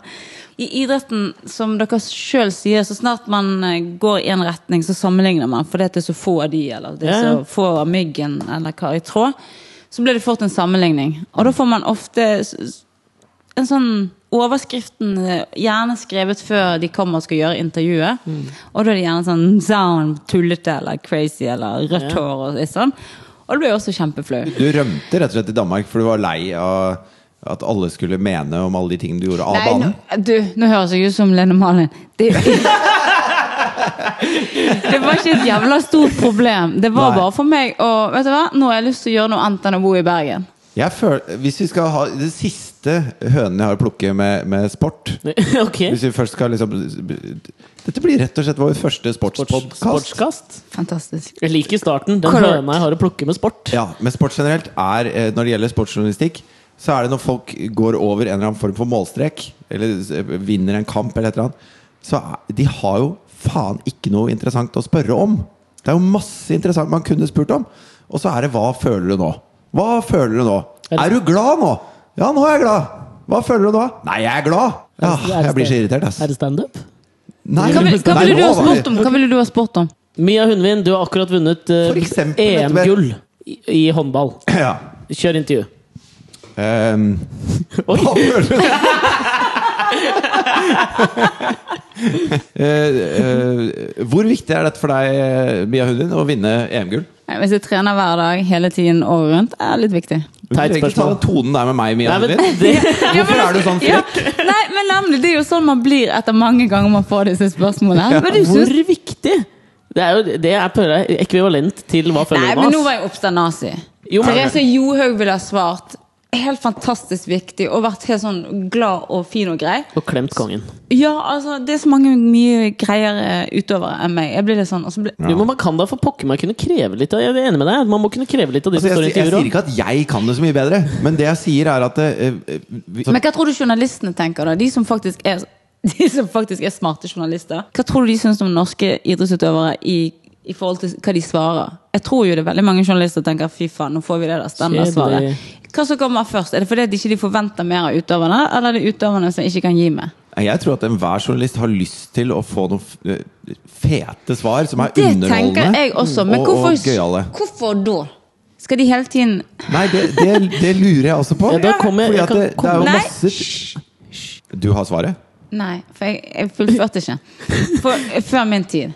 Speaker 3: I idretten, som dere sjøl sier, så snart man eh, går i en retning, så sammenligner man fordi at det er så få av de, eller det er
Speaker 1: Ja, ja.
Speaker 3: så få av myggen, eller hva i tråd. Så blir det fort en sammenligning. Og da får man ofte s- s- en sånn Overskriften eh, gjerne skrevet før de kommer og skal gjøre intervjuet. Og da er det gjerne sånn sound, tullete eller crazy eller rødt
Speaker 1: Ja.
Speaker 3: hår. Og sånn. Og da blir jeg også kjempeflau.
Speaker 2: Du rømte rett og slett til Danmark, for du var lei av at alle skulle mene om alle de tingene du gjorde av
Speaker 3: Nei, nå,
Speaker 2: banen.
Speaker 3: du, nå høres jeg ut som Lene Malin. Det, det var ikke et jævla stort problem. Det var
Speaker 2: Nei.
Speaker 3: bare for meg å Vet du hva, nå har jeg lyst til å gjøre noe annet enn å bo i Bergen.
Speaker 2: Jeg føler, hvis vi skal ha det siste hønen jeg har å plukke med, med sport
Speaker 1: ok.
Speaker 2: Hvis vi først skal liksom Dette blir rett og slett vår første
Speaker 1: Sports-
Speaker 2: sportspodkast.
Speaker 1: Sportskast.
Speaker 3: Fantastisk.
Speaker 1: Jeg liker starten. Den
Speaker 3: Correct.
Speaker 1: høna jeg har å plukke med sport.
Speaker 2: Ja, men sport generelt er eh, Når det gjelder sportsjournalistikk Så er det når folk går over en eller annen form for målstrek Eller eh, vinner en kamp eller et eller annet Så er, de har jo faen ikke noe interessant å spørre om Det er jo masse interessant man kunne spurt om Og så er det hva føler du nå? Hva føler du nå?
Speaker 1: Er det-
Speaker 2: Er du glad nå? Ja, nå er jeg glad Hva føler du nå? Nei, jeg er glad ja, Jeg blir så irritert ass
Speaker 1: Er det standup?
Speaker 2: Nei,
Speaker 3: Hva, vil, hva,
Speaker 2: nei,
Speaker 3: ville du
Speaker 2: nå
Speaker 3: ha
Speaker 2: var det-
Speaker 3: spurt om? hva ville du ha spurt om?
Speaker 1: Mia Hundvin, du har akkurat vunnet eh,
Speaker 2: For eksempel, vet du hva-
Speaker 1: EM-gull i, i håndball.
Speaker 2: Ja
Speaker 1: Kjør intervju.
Speaker 2: Ehm,
Speaker 1: Oi.
Speaker 2: Hva føler du? Eh, eh, hvor viktig er dette for deg, eh, Mia Hundin, å vinne EM-gull?
Speaker 3: Nei, Hvis jeg trener hver dag, hele tiden, året rundt, er litt viktig.
Speaker 2: Du
Speaker 1: Teit
Speaker 2: trenger ikke ta
Speaker 1: spørsmål.
Speaker 2: den tonen der med meg, Mia
Speaker 1: Nei, men altså,
Speaker 2: Hundin.
Speaker 1: det,
Speaker 2: Hvorfor er du sånn
Speaker 3: Ja,
Speaker 2: frekk?
Speaker 3: nei, men nemlig, Det er jo sånn man blir etter mange ganger man får disse spørsmålene. Men du
Speaker 1: Hvor
Speaker 3: synes,
Speaker 1: viktig? Det er jo det er på deg ekvivalent til hva
Speaker 3: nei,
Speaker 1: følger
Speaker 3: men
Speaker 1: med
Speaker 3: nå
Speaker 1: oss.
Speaker 3: var jeg oppstand nazi.
Speaker 1: Jo, men-
Speaker 3: Therese Johaug ville ha svart helt fantastisk viktig og vært helt sånn glad og fin og grei.
Speaker 1: Og klemt kongen.
Speaker 3: Ja, altså, det er så mange mye greiere utøvere enn meg. Jeg blir litt sånn, og så blir
Speaker 1: Jo, men man kan da for pokker meg kunne kreve litt av Jeg er enig med deg. Man må kunne kreve litt av de
Speaker 2: Altså,
Speaker 1: som
Speaker 2: jeg,
Speaker 1: står i
Speaker 2: jeg, jeg sier
Speaker 1: intervjuer. også.
Speaker 2: ikke at jeg kan det så mye bedre, men det jeg sier, er at eh, eh, vi,
Speaker 3: Men hva tror du journalistene tenker, da? De som faktisk er, de som faktisk er smarte journalister. Hva tror du de syns om norske idrettsutøvere i, i forhold til hva de svarer? Jeg tror jo det er veldig mange journalister tenker fy faen, nå får vi det der standardsvaret.
Speaker 1: Kjedelig.
Speaker 3: Hva som kommer først? Er det fordi at de ikke forventer mer av utøverne, eller er det utøverne som ikke kan gi meg?
Speaker 2: Jeg tror at enhver journalist har lyst til å få noen f- eh, fete svar som er
Speaker 3: Det
Speaker 2: underholdende Mm,
Speaker 3: tenker jeg også, men
Speaker 2: og,
Speaker 3: hvorfor,
Speaker 2: og gøyale.
Speaker 3: hvorfor da? Skal de hele tiden
Speaker 2: Nei, det, det, det lurer jeg også på.
Speaker 1: Ja, da kommer jeg-
Speaker 2: Fordi
Speaker 1: jeg
Speaker 2: at
Speaker 1: kan
Speaker 2: det, det er jo
Speaker 3: komme- Nei,
Speaker 2: masse Du har svaret?
Speaker 3: Nei, for jeg, jeg fullførte ikke. For, før min tid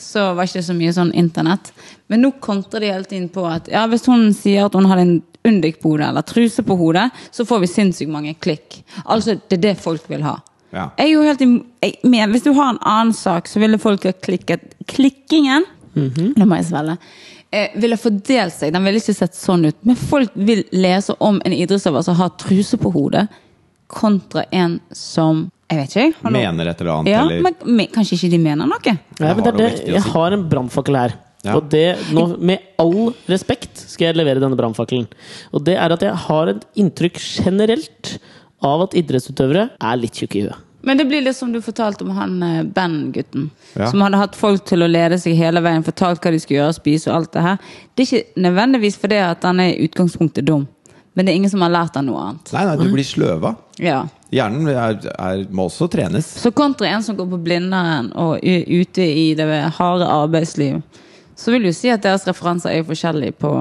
Speaker 3: så var ikke det så mye sånn internett. Men nå kontrer de hele tiden på at ja, hvis hun sier at hun har en undik på hodet eller truse på hodet, så får vi sinnssykt mange klikk. Altså, det er det folk vil ha.
Speaker 2: Ja.
Speaker 3: Jeg er jo helt im jeg, men Hvis du har en annen sak, så ville folk ha klikket Klikkingen
Speaker 2: Mhm.
Speaker 3: Nå må jeg svelge. Eh, ville fordelt seg. Den ville ikke sett sånn ut. Men folk vil lese om en idrettsøver som har truse på hodet, kontra en som Jeg vet ikke. jeg. Hallo?
Speaker 2: Mener et eller annet?
Speaker 3: Ja,
Speaker 2: eller?
Speaker 3: men, men kanskje ikke de mener noe?
Speaker 1: Nei, men det er det,
Speaker 2: Jeg har noe viktig å
Speaker 1: jeg
Speaker 2: si.
Speaker 1: har en brannfakkel her.
Speaker 2: Ja.
Speaker 1: Og det, nå, med all respekt skal jeg levere denne brannfakkelen. Og det er at jeg har et inntrykk generelt av at idrettsutøvere er litt tjukke i huet.
Speaker 3: Men det blir litt som du fortalte om han eh, Ben-gutten.
Speaker 2: Ja.
Speaker 3: Som hadde hatt folk til å lede seg hele veien, fortalt hva de skulle gjøre, spise og alt det her. Det er ikke nødvendigvis fordi at han er i utgangspunktet dum, men det er ingen som har lært han noe annet.
Speaker 2: Nei, nei,
Speaker 1: Mm.
Speaker 2: du blir sløva.
Speaker 3: Ja.
Speaker 2: Hjernen er, er, må også trenes.
Speaker 3: Så kontra en som går på Blindern og er ute i det harde arbeidsliv, så vil du si at deres referanser er jo forskjellige på,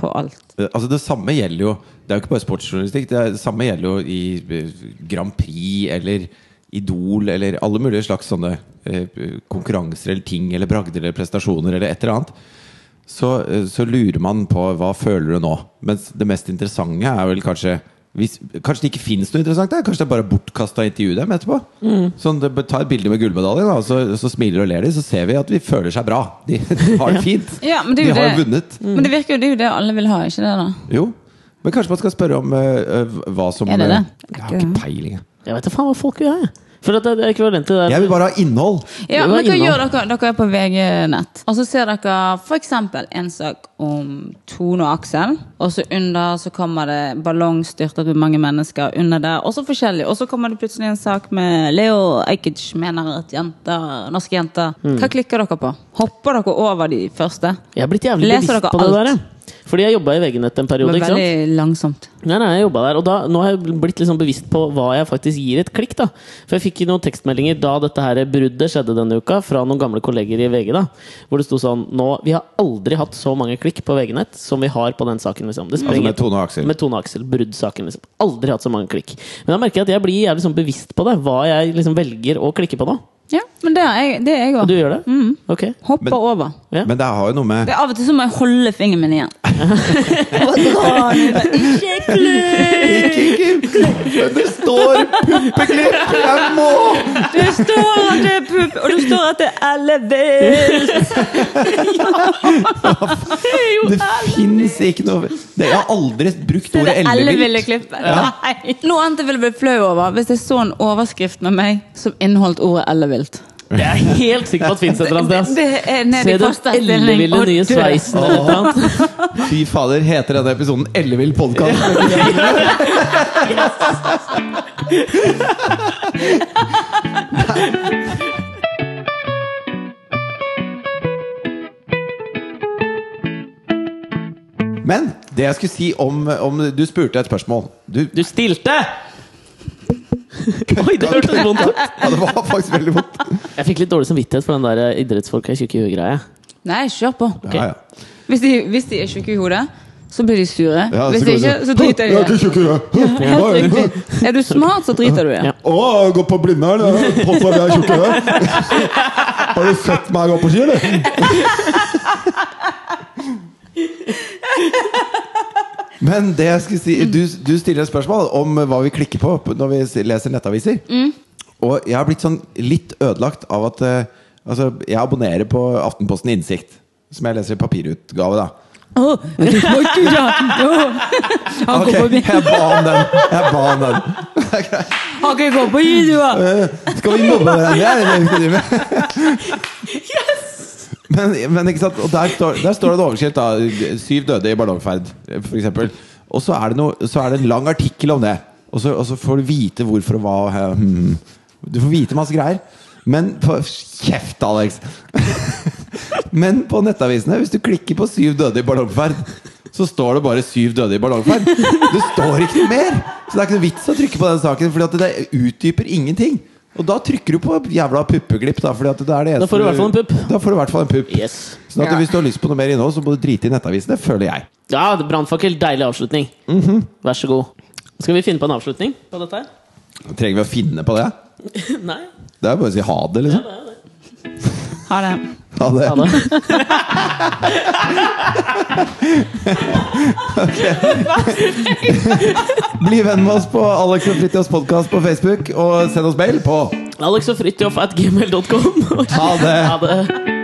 Speaker 3: på alt.
Speaker 2: Eh, Altså Det samme gjelder jo Det er jo ikke bare sportsjournalistikk. Det, er, det samme gjelder jo i eh, Grand Prix eller Idol eller alle mulige slags sånne eh, konkurranser eller ting eller bragder eller prestasjoner eller et eller annet. Så, eh, så lurer man på hva føler du nå. Mens det mest interessante er vel kanskje hvis, Kanskje det ikke finnes noe interessant der? Kanskje det er bare bortkasta intervju dem etterpå?
Speaker 3: Mm.
Speaker 2: Sånn, det- Ta et bilde med gullmedaljen, da, og så, så smiler og ler de, så ser vi at vi føler seg bra. De, de har det fint.
Speaker 3: Ja, men
Speaker 2: de
Speaker 3: det er jo
Speaker 2: har
Speaker 3: det-
Speaker 2: vunnet.
Speaker 3: Men det virker jo det er jo det alle vil ha, ikke det? da?
Speaker 2: Jo, men kanskje man skal spørre om eh, eh, hva som
Speaker 3: Er det det?
Speaker 2: eh, Jeg har ikke peiling. jeg.
Speaker 1: Jeg vet da faen hva folk vil ha, jeg. For at det er ekvivalent til det.
Speaker 2: Jeg vil bare ha innhold!
Speaker 1: Det
Speaker 3: Ja,
Speaker 1: var
Speaker 3: men hva
Speaker 1: innhold.
Speaker 3: gjør dere? Dere er på VG-nett. Og så ser dere f.eks. en sak om Tone og Aksel. Og så under så kommer det ballong styrtet med mange mennesker under der. Og så forskjellig. Og så kommer det plutselig en sak med Leo Ajkic mener at jenter, norske jenter Hva klikker dere på? Hopper dere over de første?
Speaker 1: Jeg er blitt jævlig
Speaker 3: Leser
Speaker 1: bevisst
Speaker 3: dere
Speaker 1: på det
Speaker 3: alt?
Speaker 1: der. jeg. Fordi jeg jobba i VG-nett en periode.
Speaker 3: Men
Speaker 1: ikke sant?
Speaker 3: veldig langsomt.
Speaker 1: Nei, nei, jeg jobbet der, og da, nå har jeg blitt liksom bevisst på hva jeg faktisk gir et klikk. da. For jeg fikk noen tekstmeldinger da dette her bruddet skjedde denne uka, fra noen gamle kolleger i VG. da, Hvor det sto sånn nå, Vi har aldri hatt så mange klikk på VG-nett som vi har på den saken. liksom. Det
Speaker 2: Altså
Speaker 1: sprenger-
Speaker 2: med Tone og Aksel.
Speaker 1: med Tone Aksel, bruddsaken. liksom. Aldri hatt så mange klikk. Men da merker jeg at jeg blir jævlig sånn bevisst på det, hva jeg liksom velger å klikke på nå.
Speaker 3: Ja, men det er jeg- det er jeg
Speaker 1: Du
Speaker 3: òg.
Speaker 1: gjør det? Ok.
Speaker 3: Hopper
Speaker 2: Men-
Speaker 3: over.
Speaker 1: Ja.
Speaker 2: Men det har jo noe med
Speaker 3: Det er Av og til så må jeg holde fingeren min igjen. Og dra den ut. Ikke klikk!
Speaker 2: Men det står puppeklipp! Jeg må!
Speaker 3: Det står at det er pupp, og det står at det er ellevilt! ja, det er jo
Speaker 2: Det fins ikke noe det, Jeg har aldri brukt ordet ellevilt.
Speaker 3: klippet. Nei. Noe annet jeg ville blitt flau over hvis jeg så en overskrift med meg som inneholdt ordet ellevilt.
Speaker 1: Jeg er helt sikker på at fins et eller annet sted. ass.
Speaker 3: Det er nede
Speaker 1: Se
Speaker 3: i
Speaker 1: den
Speaker 3: fosterstilling
Speaker 1: elleville
Speaker 3: og
Speaker 1: nye
Speaker 3: død.
Speaker 1: sveisen eller et eller annet.
Speaker 2: Fy fader, heter denne episoden Ellevill podkast? Men det jeg skulle si om, om Du spurte et spørsmål. Du,
Speaker 1: Du stilte! Oi, det hørtes vondt ut.
Speaker 2: ja, det var faktisk veldig vondt.
Speaker 1: Jeg fikk litt dårlig samvittighet for den der eh, idrettsfolk er tjukke i huet-greia.
Speaker 3: Nei, kjør på.
Speaker 2: Ja, ja.
Speaker 3: Hvis de, hvis de er tjukke i hodet, så blir de sure.
Speaker 2: Ja,
Speaker 3: hvis de ikke, så driter de i det. Helt
Speaker 2: det.
Speaker 3: riktig. Er du smart, så driter du i det.
Speaker 1: Ja.
Speaker 2: Å, gå på Blindern? Påstår jeg er tjukk i huet? Har du sett meg gå på ski, eller? Men det jeg skulle si du, du stiller et spørsmål om hva vi klikker på når vi leser nettaviser.
Speaker 3: Mm.
Speaker 2: Og jeg har blitt sånn litt ødelagt av at eh, altså, jeg abonnerer på Aftenposten Innsikt. Som jeg leser i papirutgave, da.
Speaker 3: Åh, det smakte ikke. Åh. Han
Speaker 2: Ok,
Speaker 3: går på
Speaker 2: jeg ba om den. Jeg ba om den.
Speaker 3: Han kan gå på videoer!
Speaker 2: Skal vi mobbe hverandre? Er det det vi skal drive med? Men, men ikke sant? Og der står, der står det en overskrift. da Syv døde i ballongferd, f.eks. Og så er, det noe, så er det en lang artikkel om det. Og så, og så får du vite hvorfor og hva. og, eh, hmm. Du får vite masse greier. Men på, Kjeft, Alex! Men på nettavisene, hvis du klikker på 'Syv døde i ballongferd', så står det bare 'Syv døde i ballongferd'. Det står ikke noe mer! Så det er ikke noe vits å trykke på den saken, Fordi at det utdyper ingenting. Og da trykker du på jævla puppeglipp, da. Fordi at det er det
Speaker 1: Da får du i hvert fall en pupp.
Speaker 2: Da får du i hvert fall en pupp.
Speaker 1: Yes.
Speaker 2: Sånn at hvis du har lyst på noe mer innhold, så må du drite i nettavisene, føler jeg.
Speaker 1: Ja, brannfakkel. Deilig avslutning. Vær så god. Skal vi finne på en avslutning på dette her?
Speaker 2: Trenger vi å finne på det?
Speaker 1: Nei.
Speaker 2: Det er bare å si ha det, liksom.
Speaker 3: Ha det.
Speaker 2: Ha det.
Speaker 1: Ha det.
Speaker 2: Bli venn med oss på Alex og Fritjofs podkast på Facebook, og send oss mail på
Speaker 1: Alex og Fridtjof at gmail.com.
Speaker 2: Ha det.
Speaker 1: Ha det.